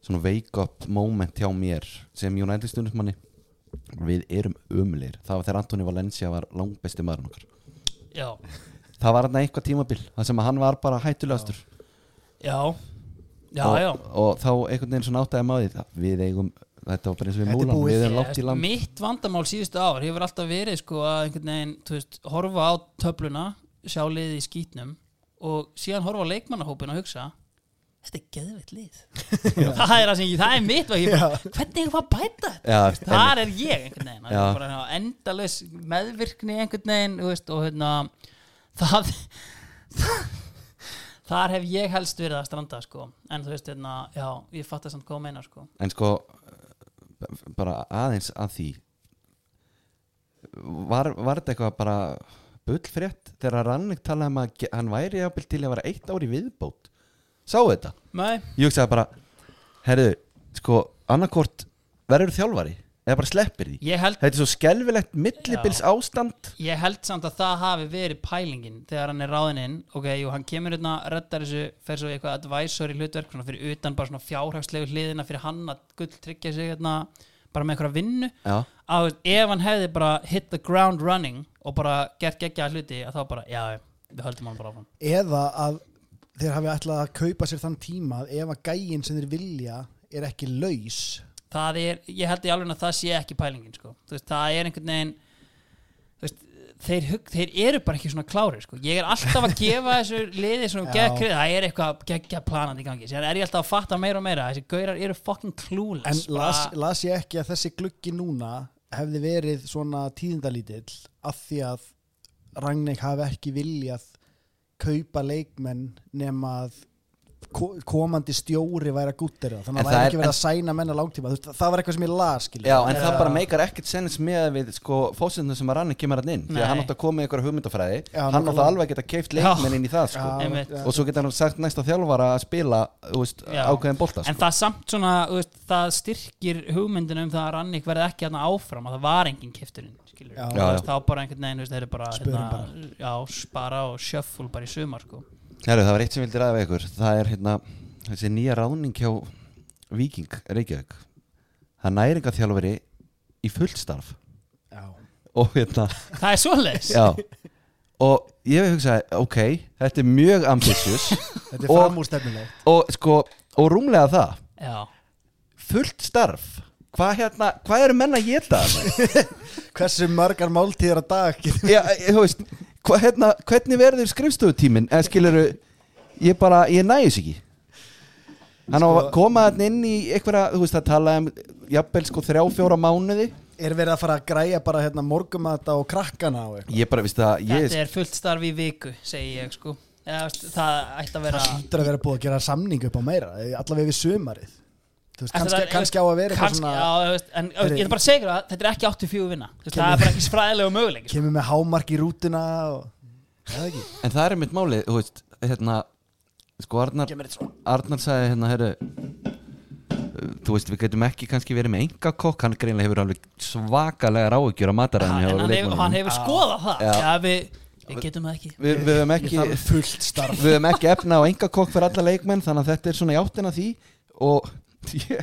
svona wake up moment hjá mér sem United stundismanni við erum umlir, það var þegar Antonio Valencia var langbesti maðurinn okkar
já,
það var hann eitthvað tímabil, það sem að hann var bara hættulegastur
já, já,
og,
já.
og þá einhvern veginn svona áttæði maður því að við eigum, þetta var bara eins og við
Þetta er
múlan
búið.
við erum
Ég
látt í
veist,
land
mitt vandamál síðustu ár hefur alltaf verið sko að einhvern veginn þú veist, horfa á töfluna, sjá liðið í skýtnum og síðan horfa á leikmannahópin og hugsa þetta er geðveitt lið það er það sem ég, það er mitt og ég bara, hvernig er að bæta þetta
Já,
þar er ég einhvern veginn Það
Já.
er bara endalus meðvirkni einhvern veginn þú veist, og hérna það þar hef ég helst verið að stranda sko. en þú veist, hérna, já, ég fatt að samt hvað þú meinar sko.
en sko b- bara aðeins að því var, var þetta eitthvað bara bullfrétt þegar Rannig talaði um að ge- hann væri jafnvel til að vera eitt ár í viðbót sáu þetta?
Nei,
Ég hugsaði bara herðu, sko, annarkort verður þjálfari eða bara sleppir því
ég held
þetta er svo skelfilegt millibils ástand
Ég held samt að það hafi verið pælingin þegar hann er ráðinn inn, ok, jú, hann kemur hérna, reddar þessu, fer svo í eitthvað advisory hlutverk, svona fyrir utan bara svona fjárhagslegu hliðina fyrir hann að gull tryggja sig hérna, bara með einhverja vinnu
já,
að þú veist, ef hann hefði bara hit the ground running og bara gert geggja hluti að þá bara, já, já, við höldum hann bara áfram
Eða að þeir hafi ætlað að kaupa sér þann tíma að ef að gæin sem þeir vilja er ekki laus
það er, ég held í alveg að það sé ekki pælingin sko. Þú veist, það er einhvern veginn þú veist, þeir, hug, þeir eru bara ekki svona klárir sko. ég er alltaf að gefa þessu liði svona
Já.
gegn það er eitthvað geggja planandi í gangi sér er ég alltaf að fatta meira og meira þessi gaurar eru fucking
en
clueless sko.
las,
Bara-
las ég ekki að þessi gluggi núna hefði verið svona tíðindalítill af því að Ragnik hafi ekki viljað kaupa leikmenn nema að ko- komandi stjóri væri að gúttera
En
þannig að það
það
væri
er-
ekki verið að sæna menna langtíma Þú veist, það var eitthvað sem ég las skilur.
Já, en
Já.
það bara meikar ekkert sens með við sko, fósitnum sem að rannig kemur hann inn því
Nei.
að hann átt að koma með ykkur hugmyndafræði
Já,
hann átt
nákvæmlega.
að alveg geta keift
Já.
leikmenn inn í það sko.
Já,
Einmitt.
já.
og svo geta hann sagt næsta þjálfara að spila þú veist,
Já.
ákveðin bolta
En
sko.
það samt svona, þú veist, það styrkir hugmyndina um það að Rannik verði ekki hérna áfram að það var engin kifturinn, skilur
Já.
já,
Já,
Þá bara einhvern veginn, þú veist, þeir eru bara, hérna,
Spörum
Já, spara og shuffle bara í sumar, sko
Heru, það var eitt sem vildi ræða við ykkur það er hérna, þessi nýja ráðning hjá Viking Reykjavík það er næringaþjálfari í fullt starf
Já.
og hérna
Það er svoleiðis
já. og ég hugsaði, ok þetta er mjög ambitious
þetta er
Og-
framúrstefnilegt
og sko, og rúmlega það
Já,
fullt starf hvað hérna, hvað eru menn að geta
hversu margar máltíðar að dag getur
já, ég- þú veist hva, hérna, hvernig verður skrifstofutíminn eða skilur ég bara, ég næðis ekki hann á að
Sko-
koma þarna inn í einhverja, þú veist að tala um jafnvel sko þrjá, fjóra mánuði
er verið að fara að græja bara hérna, morgumata og krakkana og eitthvað
ég bara, veist það, ég
þetta er fullt starf í viku, segi ég, sko Já, þú veist, það ætti að vera
það hlýtur að vera búið að gera samning upp á meira eh, allavega við sumarið Þú veist,
Þetta
kannski,
er-
kannski á að vera eitthvað
kannski,
svona
já, þú veist, en þú veist, ég er bara að segja ykkur að þetta er ekki 84 vinna Þú veist, Það
Kemur-
er bara ekki sko. fræðilegu möguleik
kemur með hámark í rútuna og, eða ekki
en það er mitt máli, þú veist hérna, sko Arnar
kemur þetta svona
Arnar sagði hérna, herru þú veist, við getum ekki kannski verið með enga kokk, hann greinlega hefur alveg svakalega ráugjur að mataræðinu
En
hjá
hann hefur,
leikmönnunum.
hann hefur skoðað það
Já.
Já, við, við getum það ekki
við, við höfum ekki
það er fullt starf
við höfum ekki efna á enga kokk fyrir alla leikmenn þannig að þetta er svona í áttina að því og ég,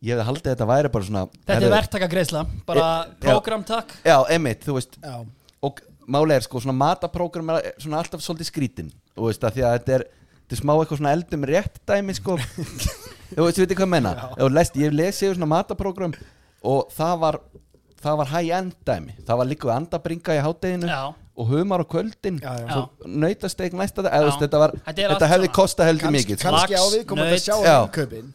ég hefði haldið að þetta væri bara svona
Þetta er
herðu,
verktaka bara
Já.
prógramtak
já, emitt, þú veist
já,
og málið er sko svona mataprógram er svona alltaf svolítið skrítin þú veist að því að þetta er þetta er smá eitthvað svona eldum rétt dæmi sko þú veist, veitir hvað ég menna Ef þú lest, ég lesi yfir svona mataprógram og það var það var high end dæmi það var líka við andabringa í hátteginu
Já.
og humar á kvöldin
já, já.
Já.
nautasteg næsta dag eða, þú veist,
Já.
þetta, var,
Þetta er
þetta,
allt
hefði
svona.
kostað heldur
kannski,
mikið sko.
kannski á
Lax,
við komum að
naut.
sjá
Já.
innkaupin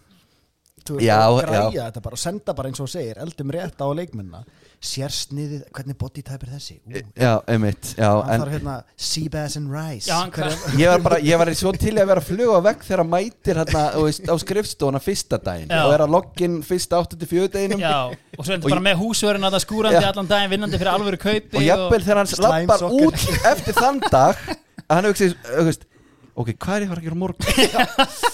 Þú veist,
Já,
og
já.
græja þetta bara og senda bara eins og þú segir eldum rétt á leikmennina sérsniðið, hvernig bodytype er þessi Ú,
já, einmitt Eh, já,
hann
en,
þarf hérna sea bass and rice
Já, hann
Hver-
ég var bara, ég var svo til í að vera að fluga vekk þegar hann mætir hérna, þú veist, á skrifstofuna fyrsta daginn
Já.
og er að logginn fyrsta 84 daginum
Já, og svo er
Og
þetta bara
ég-
með húsvörun að það skúrandi
Já.
allan daginn vinnandi fyrir alvöru kaupi
og jafnvel þegar hann
Slime
lappar
soccer.
út eftir þann dag að hann hugsi, hugst ok, hvað er ég var að gera á morgun?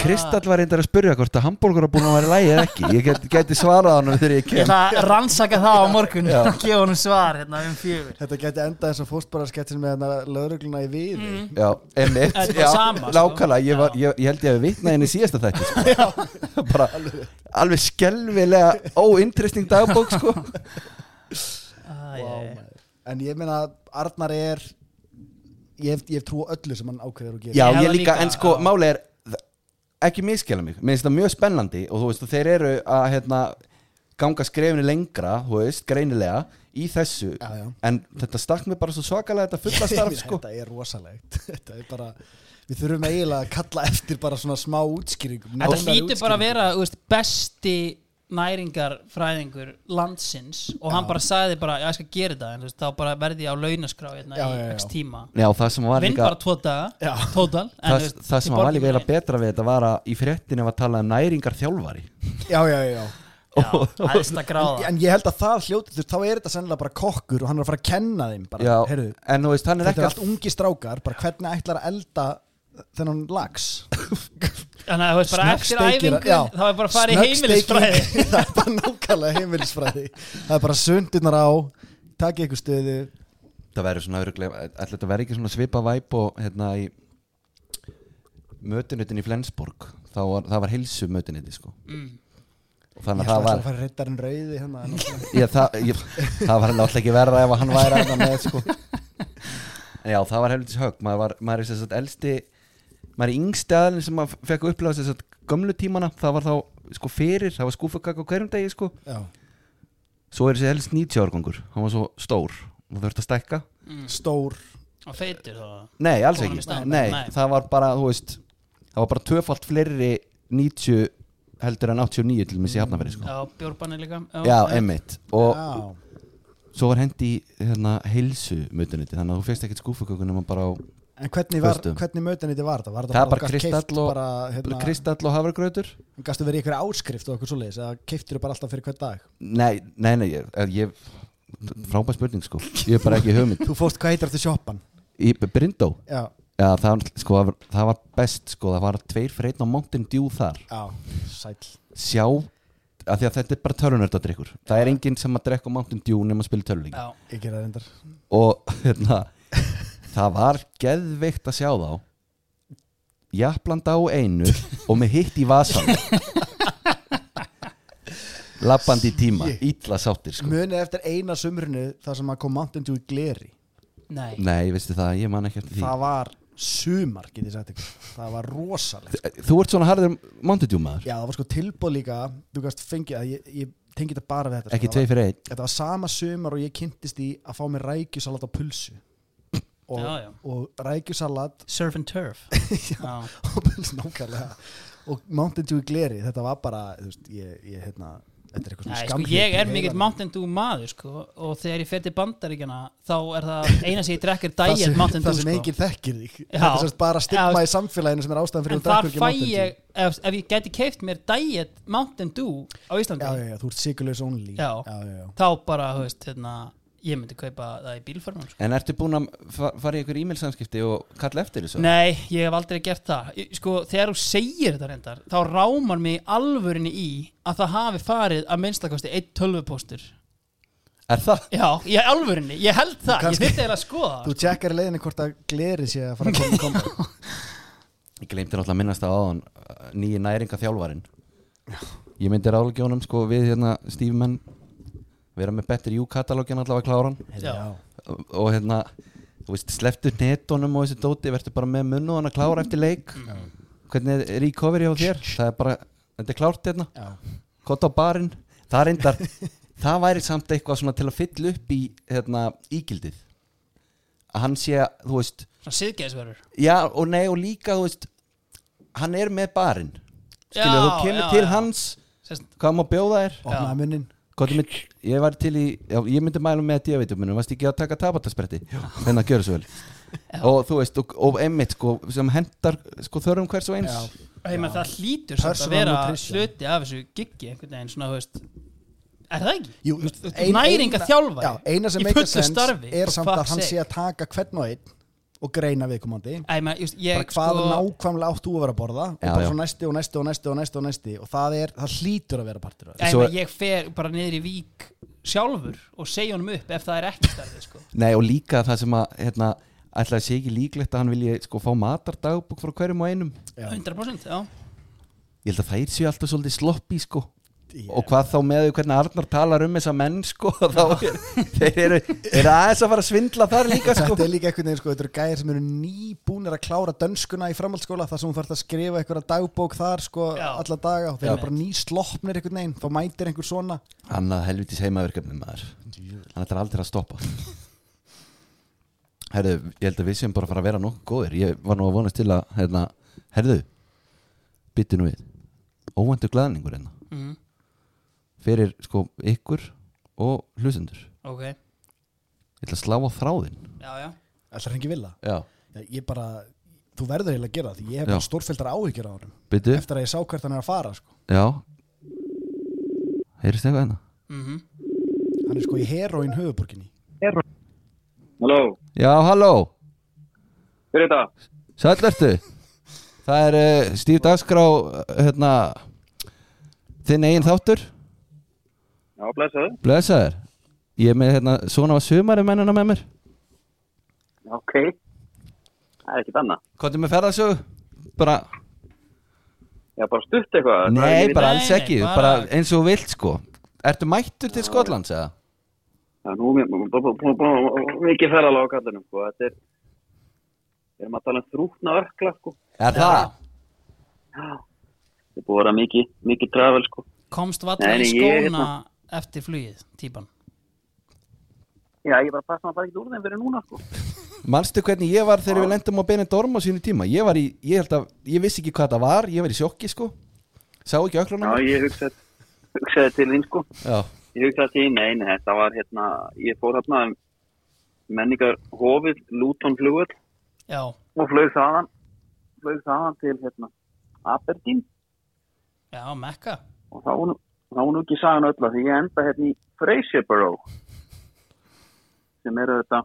Kristall var reyndar að spyrja hvort að hambúrgur að búin að vera lægi eða ekki ég get, geti svarað hann þegar ég
Ég
kem
ætla að rannsaka það á morgun
Já.
og gefa honum svar hérna um fjögur
þetta gæti enda eins og fóstbaraskettin með löðrugluna í við
Mm.
já, emitt,
Þetta var
já,
sama, sko.
nákvæmlega ég, var,
Já.
ég, ég held ég að vitna henni í síðasta þætti sko. bara alveg skelvilega óinteresting dagbók sko. Eh.
wow, maður. en ég meina að Arnar er ég hef, ég hef trú á öllu sem hann ákveður að gera
já,
Ég
ég
hef það
líka,
líka,
en sko,
já.
máli er þ- ekki miskjala mig, mér finnst það mjög spennandi og þú veist, og þeir eru að hérna, ganga skrefinu lengra, þú veist, greinilega í þessu,
Já, já.
en þetta stakk mér bara svo svakalega þetta fulla starf sko.
þetta er rosalegt þetta er bara, við þurfum eiginlega að kalla eftir bara svona smá útskýringum
Þetta
nánari
hlýtur bara að
útskýringum.
vera þú veist, besti næringarfræðingur landsins og hann
Já.
bara sagði bara, já, ég skal gera þetta en þú veist, þá bara verði ég á launaskrá hérna
Já, já,
í
já.
x tíma
Já, það sem var
Vinn
líka
bara tvo daga,
Já.
tótal
það, það sem var líka eiginlega betra við þetta var að í fréttinu var talað um næringar þjálfari
já, já, já, já.
Já, æðsta
En,
gráða
en ég held að það hljóti þú veist, þá er þetta sennilega bara kokkur og hann er að fara að kenna þeim bara,
Já,
heyrðu,
en þú veist, hann er
þetta
ekki
er allt ungi strákar bara hvernig ætlar að elda þennan lags
Þannig að þú veist bara eftir æfingu þá er bara að fara í heimilisfræði
það er bara nákvæmlega heimilisfræði það er bara sundunar á takk ykkur stöðu
það verður svona örugglega- ætli þetta verður ekki svona svipa væp og hérna í mötunutin í Flensborg þá var, það var heilsu mötunuti sko og þannig að
Ég ætla
það
alltaf að
var
fara rittarinn rauði hérna en-
hérna ég, það, ég, það var náttúrulega ekki verra ef hann væri að með sko en já, það var helvitis högg maður, var, maður er þess að elsti maður er yngsti aðalinn sem maður fekk að upplása þess að gömlu tímana, það var þá sko fyrir, það var skúfukakk á hverjum degi sko
já.
svo er þessi helst 90 árgangur, hann var svo stór og það þurfti að stækka
stór
og feitur þá
nei, alls
Fór hann
ekki,
í staðinn?
nei,
Nei.
það var bara þú veist, það var bara tvöfalt fleiri 90 heldur en 89 til missi hafnafæri sko já,
Já, bjórbanni líka
einmitt og
já.
svo var hendi í, hérna heilsu mötuniti, þannig að þú fegst ekkert skúfukökun nema bara á
en hvernig, var,
Föstum.
hvernig mötuniti var þetta? Var
um- Það
þetta
bara
þú gast
kristall
keypt
og-
bara, hérna,
kristall og hafragrautur
gastu verið í einhverja áskrift og eitthvað svoleiðis eða keiftir bara alltaf fyrir hvern dag
nei, nei, nei, ég, eh, ég frábæð spurning sko, ég er bara ekki í hugmynd
þú fórst hvað heitir eftir sjoppan
í Brindó,
já,
já, það, sko, það var- það var best sko, það var tveir freitn á Mountain Dew þar
já, sæll
sjá af því að þetta er bara tölunördadrykkur það er enginn sem að drekka á Mountain Dew nema að spila töluleiki
Já,
ég gera það reyndar
og hérna það var geðveikt að sjá þá jafnlanda á einu og með hitt í vasan lappandi í tíma
Shit.
ítla sáttir sko
munið eftir eina sumrunu þar sem að kom Mountain Dew í gleri
nei
nei, veistu það, ég man ekki eftir því
það var sumar, get ég sagt ykkur það var rosalegt
þú ert svona harður Mountain Dew maður
já, það var sko tilbúð líka þú gast fengið að ég, ég tengi þetta bara við þetta
ekki
sko.
tvei fyrir einn
þetta var sama sumar og ég kynntist í að fá mér rækjusalat á pulsu og,
Já, já.
og rækjusalat
Surf and turf Já,
á pulsu nákvæmlega og Mountain Dew í gleri, þetta var bara þú veist, ég, ég hérna þetta er eitthvað
Nei,
svona
sko,
skamhlíf
ég er mikill Mountain Dew maður sko, og þegar ég fer til bandaríkjana þá er það eina sem ég drekkir dægir Mountain Dew
það sem
sko.
enginn þekkir þig þetta er semst bara
Já,
stigma
veist-
í samfélaginu sem er ástæðan fyrir
en
að
þar fæ
drekkur ekki Mountain Dew.
ég ef, ef ég gæti keift mér dægir Mountain Dew á Íslandi
já, já, já, þú ert sigurlaus only
Já.
Já, já, já.
þá bara, þú veist, hérna ég myndi kaupa það í bílförmum sko.
en ertu búin að fa- fara í ykkur e-mail samskipti og kalla eftir þessu
Nei, ég hef aldrei gert það Ég- Sko, þegar þú segir þetta reyndar þá rámar mig alvörinni í að það hafi farið að minnstakosti eitt tölvupóstur
er það?
Já, ég alvörinni, ég held það
kannski-
Ég þyrfti eiginlega að skoða
þú
það sko-
tjekkar í leiðinni hvort að gleri sé að fara að koma, koma.
Ég gleymdi náttúrulega að minnast það áðan nýji næringa þjálfarin Ég myndi ráðleggja honum sko við hérna Stífumenn vera með betri jú-katalógin allavega kláran
Já.
og hérna þú veist, sleftu netónum og þessi dóti verður bara með munn og hann að klára eftir leik hvernig er recovery á þér það er bara, þetta er klárt hérna
Já.
kott á barinn, það reyndar það væri samt eitthvað svona til að fylla upp í hérna ígildið að hann sé, að, þú veist
Svona siðgeðisverður
Já og nei og líka þú veist Hann er með barinn Skilja
Já,
þú kemur
já,
til
já.
hans
Sest,
Hvað má bjóða þér
opnaði munnin
Hvað er mitt Ég var til í já, Ég myndi mæla með diabetuminu Vast ekki að taka tabataspretti Þannig að gjöra svo vel Og þú veist Og, og einmitt sko Sem hendar sko þörfum hvers og eins
Já.
heim, Það hlýtur samt að
Personal
vera
nutrition.
hluti af þessu giggi einhvern veginn svona, þú veist Er það ekki?
Jú, just,
ein- næringa þjálfari
já, eina sem
í
meikar
fullu
sens
starfi,
er
for
samt að
fuck's
hann
sake.
sé að taka hvern og einn og greina viðkomandi
Æ, maður, just,
bara
ég,
hvað
sko,
nákvæmlega átt þú að vera að borða
Já,
og bara
já.
svo næsti og næsti og næsti og næsti og næsti og það er, það hlýtur að vera partur af
æ,
Svo-
maður, ég fer bara niður í vík sjálfur og segja honum upp ef það er ekki starfið sko.
Nei og líka það sem að Hérna Ætlaði sé ekki líklegt að hann vilji sko fá matardagbúk frá hverjum og einum
þessu
100% já.
Ég held að þær séu alltaf svolítið sloppy sko
Já.
Og hvað þá með því hvernig Arnar talar um þessa menn sko þá er, Þeir eru, eru aðeins að fara að svindla þar líka sko
Þetta er líka einhvern veginn sko, þetta eru gæðir sem eru nýbúnir að klára dönskuna í framhaldsskóla þar sem þú þarf að skrifa einhverja dagbók þar sko
Já.
alla daga og þeir
Já.
eru bara nýsloppnir einhvern veginn, þá mætir einhver svona
Annað helvitis heimaverkefni maður Hann ætlar aldrei að stoppa Herðu, ég held að við séum bara að fara að vera nokkuð góðir Ég var nú að vonast til að hérna, Herðu, byttu nú við Óvæntu glæðningur hérna
Mhm.
Fyrir sko ykkur og hlustendur Ég
Ok,
ætla að slá á þráðinn
já, já
Ætlar hengi vilja?
Já,
Ég bara, þú verður heila að gera það því ég hef bara
Já.
stórfjöldar áhyggjur á honum
byttu,
eftir að ég sá hvert hann er að fara sko.
já Heyrist eitthvað hérna?
mm
hann er sko í heroin höfuborginni
Halló,
Já, halló,
hver er þetta?
sæll ertu Það er uh, Stíf Dagskrá uh, hérna þinn eigin þáttur
Já, blessaðu.
Blessaður Ég er með hérna, svona var sumari mennuna með mér
Já, ok. Það er ekkert annað.
Hvað er með ferðarsögu? Bara,
Já, bara stutt eitthvað. það er
nei,
ekki
bara
Nei,
alls
nei,
ekki
bara-
bara... eins og þú vilt sko Ertu mættur til Skotlands eða?
Já, nú er mér- bú- bú- bú- bú- bú- mikið ferðalag á kallinum, sko. Þetta er, Við erum að tala um þrútna örkla, sko.
Er það?
Það er búið að vera mikið, mikið trafel, sko.
komst valla
Nei,
í
nei, ég-
skóna eftir flugið, típan
Já, ég bara passa að fara ekki úr þeim fyrir núna, sko.
Manstu hvernig ég var þegar við lendum á Benidorm á sínu tíma? Ég var í, ég held að, ég vissi ekki hvað það var, ég var í sjokki sko Sá ekki
Já,
öklunum
ég hugsaði, hugsaði til þín, sko.
Já,
Ég hugsaði til þín, nei, nei, þetta var hérna, ég fór hérna um menningar hofið, Luton flugvöld
já,
og flög þaðan, flög þaðan til hérna Aberdeen
já, mekka
og þá var nú- þá var nú ekki sagan öll að því ég enda hérna í Fraserborough sem eru þetta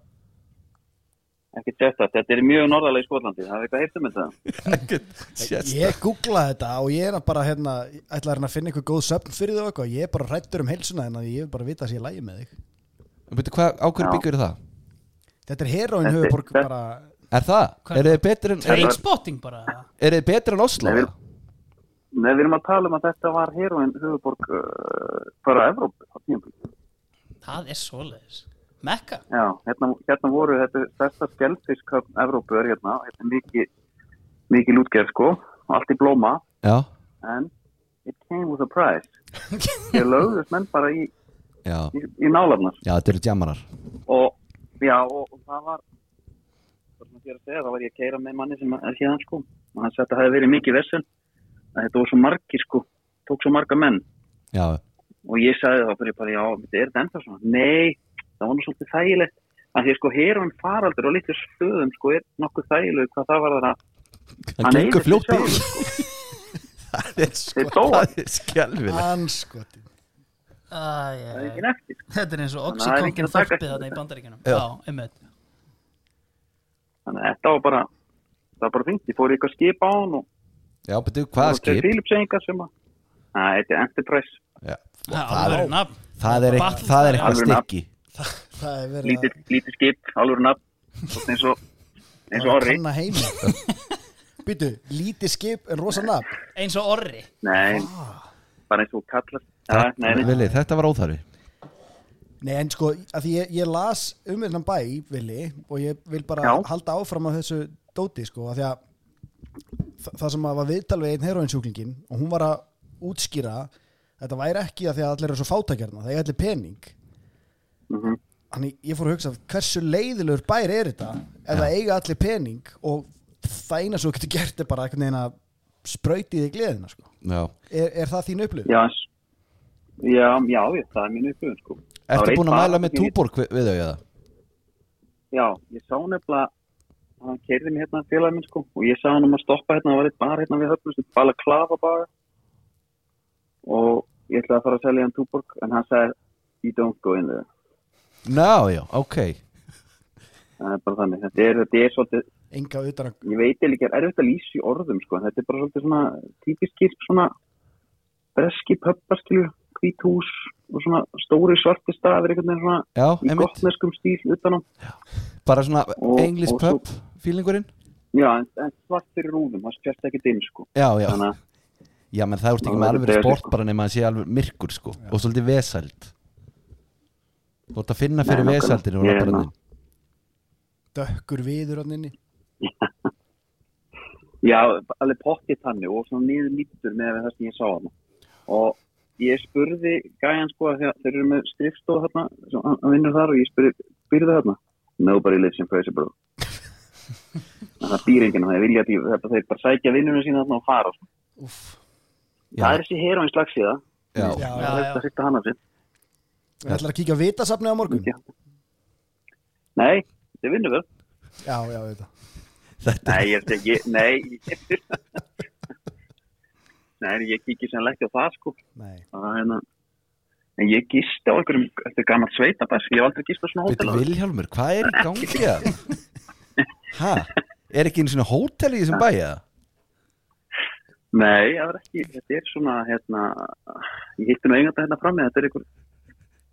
ekki þetta, þetta er mjög norðalega í Skotlandi, það er eitthvað um heitum með það
ekkert sérst
Ég googlaði þetta og ég er að bara hérna, ætla að reyna að finna einhver góð söfn fyrir þau og eitthvað, ég er bara rættur um heilsuna en ég vil bara vita að ég lægi með þig.
Veitu hvað, á hverju
Já.
byggjur það?
Þetta er heroin
Þetta-
höfuborg
þetta-
bara,
Er það?
Hvað-
Er þið betur en, er,
trainspotting bara
er þið betur en Oslo?
Nei, við- Nei, við erum að tala um að þetta var heroin höfuborg uh, fara Evrópu á tíum
það er svoleiðis mekka,
Já, hérna, hérna voru þetta stærsta skjálfisköpn Evrópu er hérna, þetta er mikið mikið lútgerð sko, allt í blóma
Já,
en it came with a price ég lögðust menn bara í,
já,
í, í nálafnar
já, þetta eru djamarar
og já, og, og það var það sem ég er að segja, það var ég að keira með manni sem er hérna sko, og hann sagði að það hefði verið mikið vessun, að þetta voru svo margi sko, tók svo marga menn
Já,
og ég sagði þá fyrir bara, já, þetta er þetta enda svona nei, það var nú svolítið þægilegt af því að sko heroin faraldur og litur stöðum sko er nokkuð þægileg hvað það var það að
það
Hann
gengur
eyðir
fljótt
sig
yfir Það er
Þeir
sko,
dóu.
það er skelvileg
anskotin.
Æ,
það er
æ, æ.
ekki neftir
þetta er eins og
Þannig að það er enginn
oxykonkin
að taka
þorpið
eftir
þarna í
þessu.
bandaríkjunum
Já.
já, einmitt
þannig að þetta var bara það var bara fint, ég fór í eitthvað skip á hann og
Já, betur, hvaða skip?
Filipsengar sem að Nei, þetta er Enterprise,
Já,
það
það
er
er, það er, eitthvað- það er eitthvað
Alvöru nafn.
stykki
Það er verið
lítið, lítið skip, alveg nafn svona eins og, eins og orri
kanna heima. Býtu, lítið skip en rosa nafn.
eins og orri
Nei, bara eins og kallast ja, nei, nei.
Vili, þetta var óþarfi
Nei, en sko, að því ég, ég las um þennan bæ, Vili, og ég vil bara
Já.
halda áfram af þessu dóti, sko, að því að þa- það sem að var viðtal við einn heroinsjúklingin og hún var að útskýra að þetta væri ekki að því að allir eru svo fátækjarna, það er allir pening.
Mhm.
Þannig ég fór að hugsa hversu leiðilegur bær er þetta ef það eiga allir pening og það eina svo getur gert er bara einhvern veginn að sprauti þig gleðina, sko.
Já
Er, er það þín upplif?
Já, eins- já, já, já, það er mín upplifun sko. Það var
Ertu
eitt
búin að mæla
bar-
með túborg við, við þau eða?
Já, ég sá nefnilega að hann keirði mig hérna félag minn sko og ég sá hann um að stoppa hérna, það var eitt bar hérna við höfnum sem bala klafa bar og ég ætlaði að fara að selja hann túborg en hann sagði, you don't go in there
Ná, já, ok
það er bara þannig, þetta er, þetta er svolítið
Enga utan að...
ég veit ekki, er erfitt að lýsa í orðum sko, en þetta er bara svolítið svona típiskir svona breski pöppaskilur, hvít hús og svona stóri svarti stafir einhvern veginn svona
Já,
í
einmitt,
gottneskum stíl utanum
bara svona
Og-
English
og svo-
pub feelingurinn
já, en, en svart fyrir rúðum, það sést ekki inn sko,
Já, já,
þannig að
já, menn það ertu ekki
Ná,
með
þetta
alveg
er
sport
sko.
bara nema að sé alveg myrkur sko og svolítið vesæld Þú ert að finna fyrir
Nei, nákvæmlega.
vesældinu og
Ég er
rapparinn
ná-
dökkur viður hann inni
Já, alveg pottið þannig og svona niður nýttur með það sem ég sá hann. Og ég spurði gæjan sko að þegar þeir eru með skrifstof hérna, sem hann hann vinnur þar og ég spurði, býrðu hérna? Nobody lives in Fraserborough. En það býr enginn og það vilja að býr, það er bara þeir bara sækja vinnunum sína þarna og fara. sko.
Úff.
Það er þessi heroin slagsíða,
Já,
Já,
já,
já.
það er þetta sýtta hann af sér.
Við ætlar að kíkja á vitasafni á morgun
Já. Nei, þið vinnur vel.
Já, já, við þetta
þetta
Nei, ég er ekki, nei, ég... Nei, ég kikið sem ekki á það sko.
Nei,
Það er hérna En ég gisti á einhverjum, þetta er gammal sveitabæs, ég hef aldrei gist á svona
Veitu,
hótel áður.
Vilhjálmur, hvað er í gangi að? Ha, er ekki einu svona hótel í þessum bæja?
Nei, það er ekki, þetta er svona, hérna, ég hitti nú eigandi hérna fram með, þetta er einhver,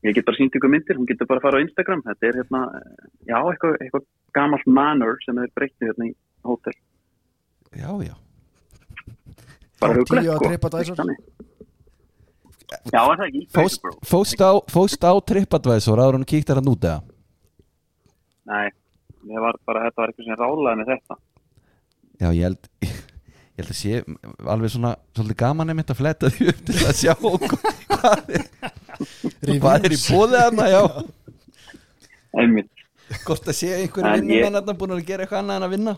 ég get bara sínt ykkur myndir, hún getur bara að fara á Instagram, þetta er hérna, já, eitthvað, eitthvað gammalt manor sem er breytið hérna í hótel.
Já, já,
Bara
Top
hugulegt,
10 á
sko.
TripAdvisor.
Þannig. Já, er það ekki?
fóst, fóst á, fóst á trippadvæsor áður hún kíktar hann út eða?
Nei, það var bara, þetta var eitthvað sem ráðlaði með þetta.
Já, ég held Ég held að sé alveg svona Svolítið gaman einmitt að fletta því upp til að sjá okkur Hvað er, hvað er í bóðið hana, já
einmitt
Hvort að sé
En
einhverju
ég-
vinnumenn þarna búin að gera eitthvað annað en að vinna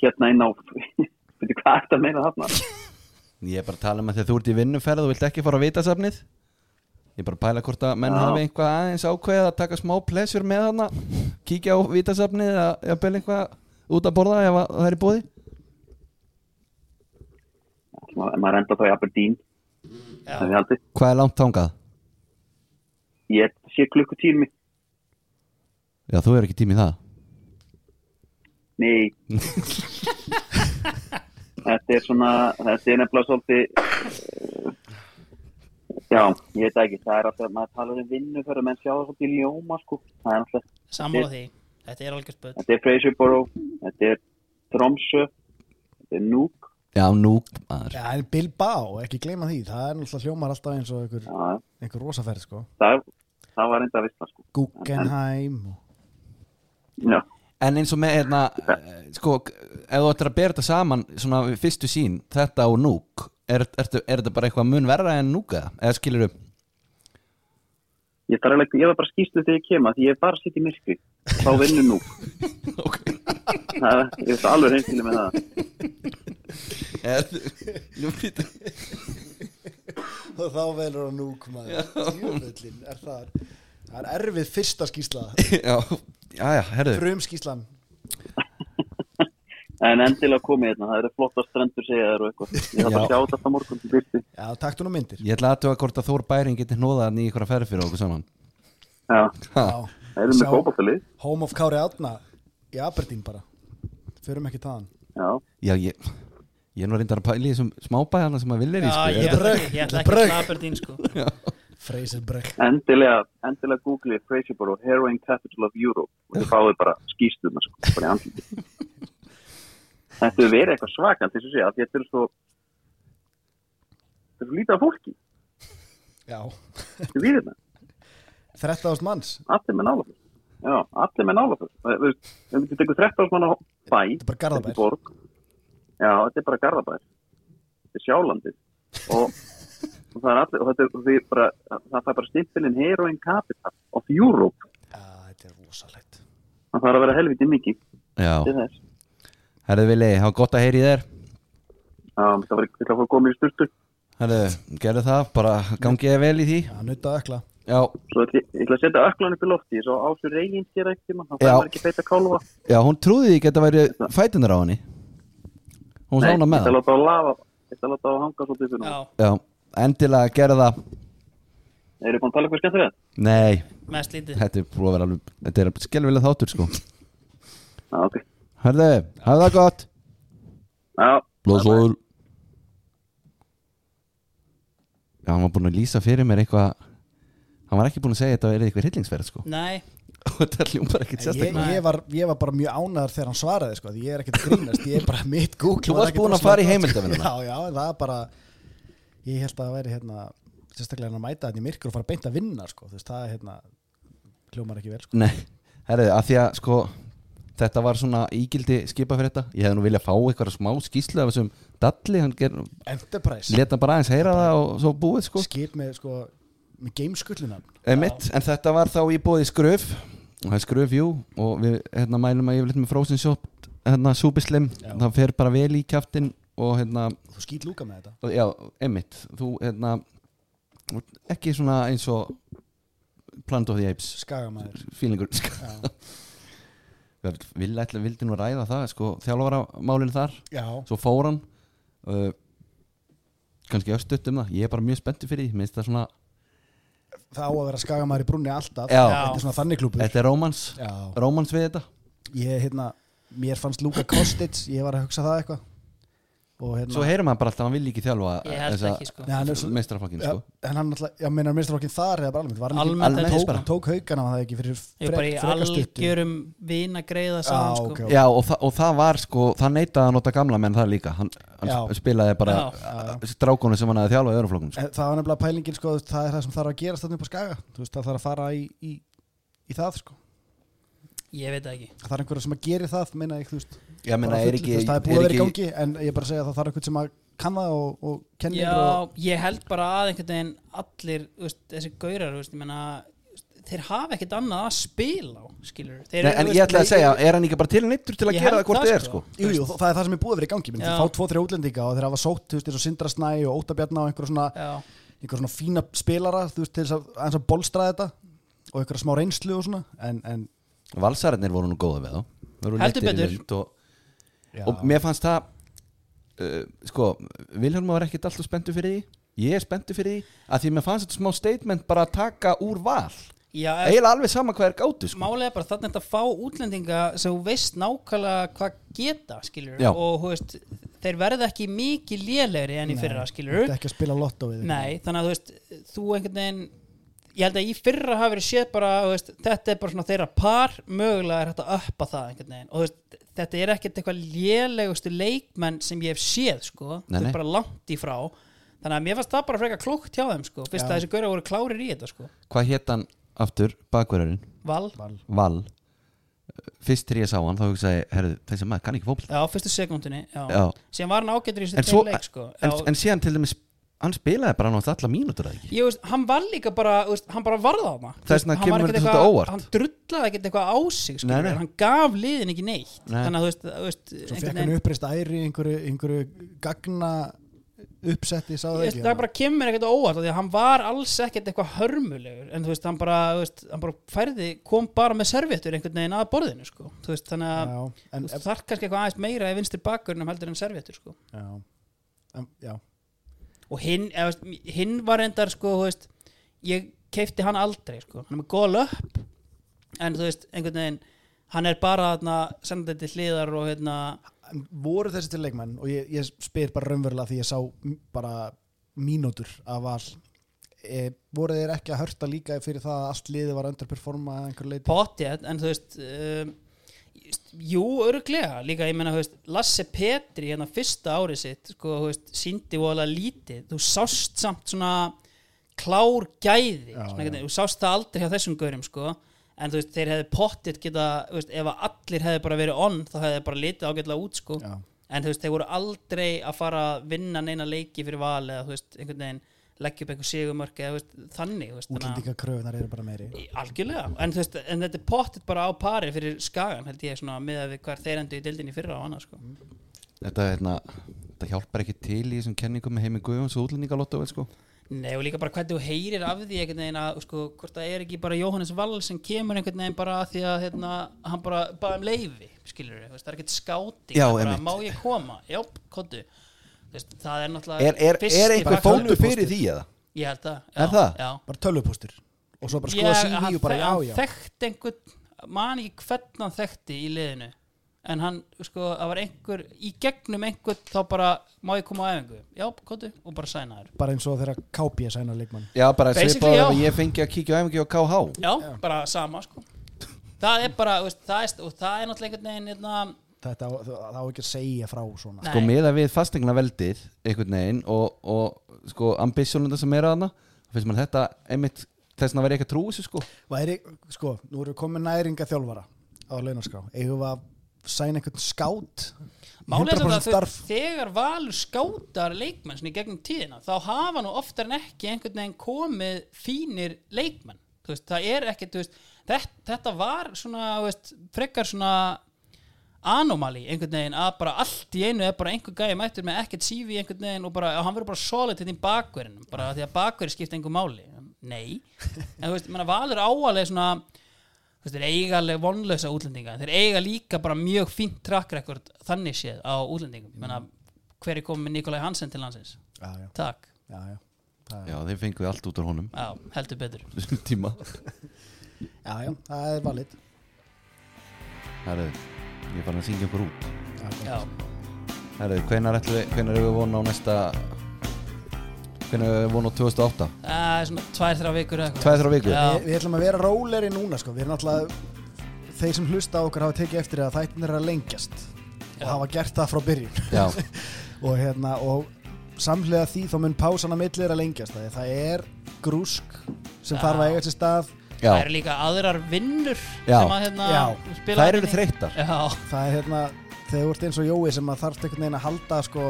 hérna inn á veitu hvað er þetta meina þarna
Ég er bara að tala um að þegar þú ert í vinnuferð og vilt ekki fara á vitasafnið Ég er bara að pæla hvort að menn
Já.
hafi eitthvað aðeins ákveðið að taka smá plesjur með hana Kíkja á vitasafnið eða jafnvel eitthvað út að borða ef að það er í bóði
Ma- maður enda þá í Aberdeen það er aldrei
Hvað er langt þangað?
ég sé klukkutími
Já, þú er ekki tími í það
nei þetta er svona þetta er nefnilega svolítið eh, já, ég veit það ekki það er alltaf, maður talar um vinnu fyrir menn sjá það svolítið í ljóma sko það er alltaf,
sammála því Þetta er algjör spöld
þetta er Fraserborough þetta er Tromsö þetta er Nuuk
Já, nú, maður
Já, en Bilbao, ekki gleyma því það er náttúrulega hljómar alltaf eins og einhver,
Já,
einhver rosaferð sko
það, það var enda að vissla sko
Guggenheim og...
já,
En eins og með hérna, eh, sko, ef þú ættir að bera þetta saman svona við fyrstu sín, þetta og núk er, er, er þetta bara eitthvað mun verra en núka? Eða skilur upp?
ég þarf alveg ég var bara skýstu þegar ég kem að því ég er bara að sitja í myrkri þá vinnu Nuuk
Okay.
það, ég veist alveg reynskilu með það
Er, nú býtum
og þá velur hann núk maður Jöfullinn, er það það er erfið fyrsta skýsla
Já, já, já, herðu
frum skýslan
En endilega komið hérna, það eru flottar strendur segja þér og eitthvað. Ég þarf bara að sjá þetta alltaf morgun til byrti.
Já, taktu nú myndir
Ég ætla aðtöga hvort að Þór Bæring geti hnoðað hann í ykkur að ferð fyrir okkur saman
Já,
Ha,
Já,
það eru
Sá-
með fókbaltalið.
Home of Kári Átna í Aberdeen bara förum ekki taðan
Já,
Já, ég, ég er nú reyndar að pæla í þessum smábæðana sem að vilja í,
Já,
sko
ég
Er-
ætla
Brugg,
ekki- ég ætla
Brugg.
ekki að Aberdeen sko
Fraser Breck
endilega, endilega googlið Fraserborough Heroin Capital of Europe og þið fáið bara skýstuna, sko, bara í andliti. Þetta hefur verið eitthvað svakant, þess að segja, af því að þetta er svo, þetta er svo lítið af fólki,
Já,
þetta er við þetta,
13.000 manns
allir með nálafur. Já, allir með nálafur. Við veitum, þetta er 13 manna bæ,
Þetta er bara
þetta er
Garðabær
borg. Já, þetta er bara Garðabær. Þetta er sjálandið. Og, og það er allir, og þetta er því bara, það fær bara stimpilinn Heroin Capital of Europe.
Já, þetta er rosalegt
Það þarf að vera helviti mikið til
Já,
þess.
herðu Vili, það var gott að heyri þér
Já, það var ekki að fá komið í sturtu.
Herðu, gerðu það, bara gangi ég vel í því
Já, nutt að ökla
Já,
Svo ætli- ég ætla að setja öklan upp í lofti, ég svo ásur reygin sér ekki, mann, það
Já.
fær ekki feita kálfa.
Já, hún trúði ekki að þetta væri fætunar á henni Hún sána
ég
með það
ætla að láta að lafa, ég ætla að láta að hanga svolítið fyrir
Já,
hún.
Já, endilega gera það
Eru búin að tala eitthvað skemmtilegt?
Nei,
mest lítið
þetta er búið að vera alveg Þetta er skelvilega þáttur sko
Já, ok.
Hörðu, hafðu það gott
Já,
Blóðsóður Já, hann var búin að lýsa fyrir mér eitthvað Hann var ekki búin að segja þetta er eitthvað hryllingsverð sko
Nei,
Og þetta er hljómar ekkit
En ég,
sérstaklega
ég, var, ég var bara mjög ánæður þegar hann svaraði sko, því ég er ekkert að grínast, ég er bara mitt Google
Þú
var
varst
ekkert
búin að
rosalega
fara í
gott,
heimildavinnuna.
sko. Já, já, en það er bara ég held að það væri hérna sérstaklega hann að mæta hann í myrkur og fara beint að vinna sko, þú veist, það er hérna hljómar ekki vel sko.
Nei, herðu, að því að sko Þetta var svona ígildi skipa fyrir þetta Ég hefði nú viljað fá eitthvað smá skýslu af þessum Dalli, hann ger,
Enterprise,
leta bara aðeins heyra það og svo búið sko
skip með sko, með gameskullina
Einmitt, en þetta var þá í bóði skröf og það er skröf, jú og við hérna, mælum að ég vil með Frozen Shop hérna, Súbislim,
Já.
það fer bara vel í kjaftin og hérna,
þú skýt lúka með þetta
og, já, einmitt þú, hérna þú ert ekki svona eins og Planet of the Apes
skagamæður,
fílingur sko. Vil ætla vildi nú ræða það sko, þjálfaramálinu þar,
já,
svo fór hann uh, kannski östutt um það ég er bara mjög spenntur fyrir því, minnst það svona
það á að vera skagamæður í brunni alltaf
Já.
þetta er svona þannig klúpur
þetta er rómans,
Já.
rómans við þetta
ég, hérna, mér fannst Luka Kostic ég var að hugsa það eitthvað og hérna
Svo heyrir maður bara alltaf að hann vil ekki þjálfa
Ég held ekki, sko.
Nei, hann er svo-
mestrafokkin
Já,
sko.
en hann alltaf, já, meinar minnstraflokkin þar eða bara almennt, var hann ekki
Almennt
Almennt
tók,
bara.
tók haugana var það ekki fyrir
Ég er bara í
frekar stuttu
algjörum vina greiða
Já,
saman sko
ok, ok.
Já og, þa og það var sko það neitaði að nota gamla menn það líka hann, hann
Já.
spilaði bara
Já.
strákonu sem hann hafði þjálfað í öruflokkum sko.
En Eh, það var nefnilega pælingin sko, þú veist, það er það sem þarf að gera stann upp á skaga, þú veist það þarf að fara í, í, í það sko
ég veit það ekki
það er einhverja sem að gera það meina ég, þú veist,
Já, meina,
bara
er
fullu,
ekki-
þú veist, það er
er
búið að vera í
ekki-
gangi en ég er bara að segja að það þarf einhvern sem að kann það og, og kenni
Já,
ykkur og,
ég held bara að einhvern veginn allir, þú veist, þessi gaurar þú veist, ég meina, þú veist, þeir hafa ekkert annað að spila á, skilur þeir,
Nei,
eru,
en ég
þú veist,
ætla að
leik-
segja, er hann ekki bara til neittur til að
Ég
gera
held
það hvort
það,
þið er,
sko.
sko?
Jú, jú, það er það sem er búið að vera í gangi Minn,
Já.
þeir fá tvo, þrjá útlendinga og þeir hafa sótt þú veist, eins og Sindra Snæ og Óta Bjarna og einhverja svona,
Já.
einhverja svona fína spilara þú veist, til þess að, aðeins að bolstra þetta og einhverja smá reynslu og svona en, en
sko? Valsararnir voru nú góða við þá Voru
Heldur
leittir í
betur.
lund og, og mér fannst það uh, sko, Vilhelm var ekkit alltaf spenntu fyrir því ég er spenntu fyrir því að því mér fannst þetta smá statement bara að taka úr val
Já, ef-
eiginlega alveg sama hvað er gátu sko.
Málega bara þarna er þetta að fá útlendinga sem þú veist nákvæmlega hvað geta skilur
Já.
og þú veist, þeir verða ekki mikið lélegri enn í fyrra skilur
Þetta er ekki að spila lotto við
Nei, þannig að þú veist, þú einhvern veginn ég held að í fyrra hafi verið séð bara þú veist, þetta er bara svona þeirra par mögulega er hægt að uppa það einhvern veginn og þú veist, þetta er ekkert eitthvað lélegustu leikmenn sem ég hef séð sko,
Nei,
þetta
nei.
er bara langt í frá þannig að mér fannst það bara freka klókt hjá þeim sko, fyrst
Já.
að þessi gaurar voru klárir í þetta sko.
hvað hétt hann aftur, bakverðurinn
Val,
Val.
Val fyrst þegar ég sá hann þá hugsaði, herðu, þessi maður kann ekki fótbolta
já, fyrstu sekundinni já.
Já.
sem var hann ágættur í þessu
en, svo,
tveim leik sko.
en,
Já,
en síðan til dæmis hann spilaði bara nátt alla mínútur eða ekki
ég veist, hann var líka bara, þú veist, hann bara varða hana
Þess vegna kemur mér þetta svolítið óvart.
hann drullaði ekkert eitthvað á sig skilur,
Nei, nei.
hann gaf liðin ekki neitt
Nei.
þannig að þú veist, þú veist einhvern
Svo fekk hann
veginn-
uppreist æri í einhverju, einhverju gagna uppsetti, sá
Ég
það
veist,
ekki
það bara kemur ekkert á óvart af því að hann var alls ekkert eitthvað hörmulegur en þú veist, hann bara, þú veist, hann bara færði kom bara með serviettur einhvern veginn að borðinu sko. þú veist, þannig að
Já,
þú
en,
veist, þarf kannski eitthvað aðeins meira í vinstri bakgurnum heldur en serviettur sko.
já, en, já,
og hinn, eða, þú veist, hinn var endar sko, þú veist, ég keipti hann aldrei sko. hann er með góða löpp en þú veist, einhvern veginn hann er bara þarna, senda þetta til hliðar og hérna,
en voru þessi til leikmenn og ég, ég spyr bara raunverulega því ég sá m- bara mínútur af val e, voru þeir ekki að hörta líka fyrir það að allt liði var að underperforma að einhverju leiti
potið en þú veist um, jú, örglega, líka ég meina þú veist, Lasse Petri hérna fyrsta árið sitt sko, þú veist, síndi vola lítið þú sást samt svona klár gæði
Já,
svona,
já.
hvernig, þú sást það aldrei hjá þessum gaurum sko en þú veist, þeir hefði potið geta þú veist, ef að allir hefði bara verið onn þá hefði þeir bara litið ágætlega út sko
já,
en þú veist, þeir voru aldrei að fara að vinna neina leiki fyrir val eða þú veist, einhvern veginn leggja upp einhver sigumörk eða þú veist, þannig, þú veist, þannig
útlendinga kröfunar eru bara meiri
að- algjörlega, en þú veist, en þetta er pottet bara á pari fyrir skagan, held ég, svona með við hvar þeir endur í deildinni í fyrra og annað, sko
þetta, hérna, þetta hjálpar ekki til í þessum kenningum með heimi Guðjóns og útlendingalottu sko.
Nei, og líka bara hvernig þú heyrir af því einhvern veginn að, sko, hvort það er ekki bara Jóhannes Wall sem kemur einhvern veginn bara að því að hérna, hann bara baði um leifi skilur við, það er ekkert skáting
Já,
það er bara,
einmitt.
má ég koma, jáp, kottu það er náttúrulega
er, er, er
fyrsti
einhver
faktor-
fótu fyrir því eða?
Ég held það,
Er það?
Já,
bara tölvupóstur og svo bara skoða
Ég-
síði
hann
og bara
þek-
já, já
hann þekkti einhvern man ekki hvern hann þekkti í liðinu en hann, sko, það var einhver í gegnum einhvern, þá bara má ég koma á efingu, já, kóttu, og bara sæna þér
bara eins og þeirra kápið sæna leikmann
Já, bara
Basically,
svipaður ef
já.
ég fengi að kíkja á MG og KH
já, bara sama, sko það er bara, veist, það er, og það er náttúrulega einhvern veginn, hérna,
þetta á- það það á ekki að segja frá svona
Sko, meða við fastegna veldið einhvern veginn og, og sko, ambisjónunda sem er að hana finnst mann þetta einmitt þess að vera ekki að trú þessu sko
væri, sko, nú erum við komið næringa þjálfara á launaskrá eigum við að sæna einhvern skátt
Málega er
100%
það að
starf
þau- þegar valur skátar leikmenn svona í gegnum tíðina þá hafa nú oftar en ekki einhvern veginn komið fínir leikmenn Þú veist, það er ekki, veist, þetta, þetta var svona þú veist, frekar svona anomali einhvern veginn að bara allt í einu er bara einhver gæði mættur með ekkert CV einhvern veginn og bara, og hann verður bara solid hérna í bakverðinum bara af því að bakverði skipta einhver máli nei, en þú veist, ég meina valur áalega svona þú veist, þeir eiga alveg vonlösa útlendinga en þeir eiga líka bara mjög fínt track record þannig séð á útlendingum ég meina, hver er komið með Nikolai Hansen til landsins
já, já,
takk,
já, já. Það-
Já, þeir fengu allt út úr honum
já, heldur betur
þessum tíma
já, já, það er valið
Herru, ég er farin að syngja okkur út
já,
Herru, hvenar, ætli, hvenar er við vona á næsta hvenar er við vona á 2008
það er svona tvær þrjá vikur eða eitthvað.
Tvær, þrjár vikur?
já,
við, við ætlum að vera róleri núna sko. við erum alltaf þeir sem hlusta á okkur hafa tekið eftir að þættin er að lengjast og hafa gert það frá byrjun
Já,
og, hérna, og samhlega því þá mun pásan að milli er að lengjast það, það er grúsk sem
Já.
þarf að eiga sér stað
Já.
það eru líka aðrar vinnur
Já.
sem að hérna
Já.
spila
Þær eru
þarna í.
þreyttar
já,
það er hérna þegar þú ert eins og Jói sem að þarft einhvern veginn að halda sko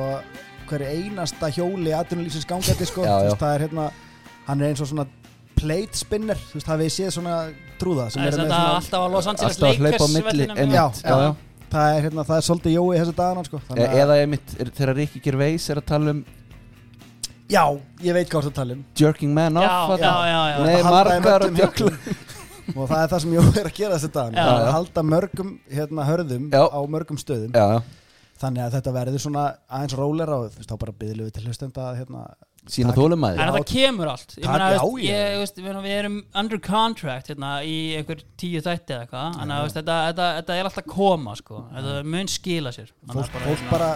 hverju einasta hjóli atvinnulífsins gangandi sko
Já,
Þú
já.
veist, það er hérna hann er eins og svona plate spinner þú veist hafið þið séð svona trúða sem
það er
eru með
þetta
svona,
alltaf að Los Angeles
Alltaf að hlaupa á
Lakers
milli
vellinum,
einmitt,
Já,
já, já.
það er hérna það er svolítið Jói þessi dagana sko
E
Þannig að-
Eða einmitt er, þegar Rikki Gervais er að tala um
já ég veit hvað þú ert að tala um
jerking man
já,
off
já, já, já,
Nei,
Að halda þeim
margar og
öllum
djökla
hörðum. og það er það sem Jói er að gera þessi dagana
Já.
Það er að halda mörgum hérna hörðum
Já.
á mörgum stöðum
Já, já.
þannig að þetta verður svona aðeins rólera og þú veist þá bara byðlum við til hlustenda að, hérna,
sína
Takk.
þólumæði
en
Já.
það kemur allt ég
Takk,
meina,
já,
þú veist,
já.
ég, þú veist, ég meina, við erum under contract hérna, í einhver tíu þætti eða eitthvað þannig að þú veist, þetta, þetta, þetta er alltaf að koma sko. þetta mun skila sér Þannig að
fólk, fólk,
hérna-
bara,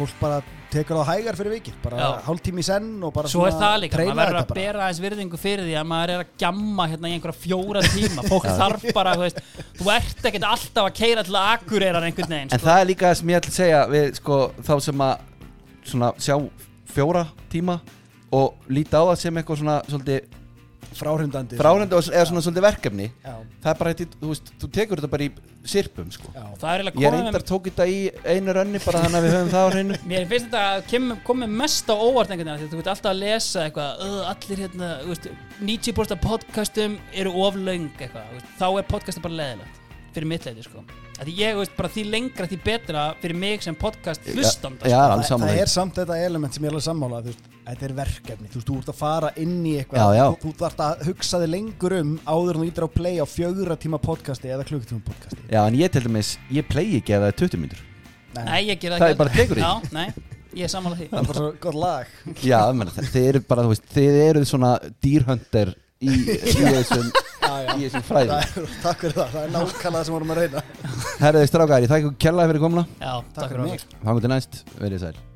fólk bara tekur það á hægar fyrir vikið bara
Já.
hálftími í senn og bara
Svo er
svona
það líka, maður
treyna
verður að
þetta bara.
bera aðeins virðingu fyrir því að maður er að gamma hérna í einhverja fjóra tíma fólk þarf bara, þú veist, þú ert ekkert alltaf að keira til að akureyrar einhvern veginn sko.
En það er líka það sem ég ætla að segja við sko, þá sem að svona, sjá fjóra tíma og líta á það sem eitthvað svona svolítið
fráhrindandi sko.
fráhrendu eða svona svolítið verkefni
já,
það er bara, eitt- þú veist, þú tekur þetta bara í sirpum sko.
já.
það er eiginlega
Ég
komið
reyndar tók þetta í einu rönni bara þannig að við höfum það á hreinu
Mér finnst þetta að kem- komið mest á óvart einhvern veginn, því að þú veit alltaf að lesa eitthvað, "Ugh, allir hérna, þú veist, 90% af podcastum eru oflöng eitthvað, þú veist, þá er podcastum bara leðilegt, fyrir mitt leiti, sko. Af Því ég, þú veist, bara því lengra því betra fyrir mig sem podcast hlustanda,
Já,
sko.
alveg
Það, það
samanlega
er samt þetta element sem ég er alveg sammála þú veist, þetta er verkefni, þú veist, þú ert að fara inn í eitthvað,
Já, já.
þú, þú þarft að hugsa þig lengur um áður en þú ítir á play á fjögurra tíma podcasti eða klukkutíma podcasti
Já, en ég til dæmis, ég play ekki ef það er 20 mínútur
sko. Nei, ég ger það
Það
ekki
er bara
aldrei.
tekur í.
Já, nei, ég er sammála því.
það er bara svo gott lag
Já, menn, þið eru bara, þú veist, þið eru svona dýrhöndir í, í þessum, í þessum
það
fræðum
er, takk fyrir það, það er nákvæmlega það sem vorum að reyna
Herðið strákar, ég þakka ykkur kjallaði fyrir komla
Já, takk
fyrir
fyrir
mig.
okkur.
Fangur til næst, verið sæl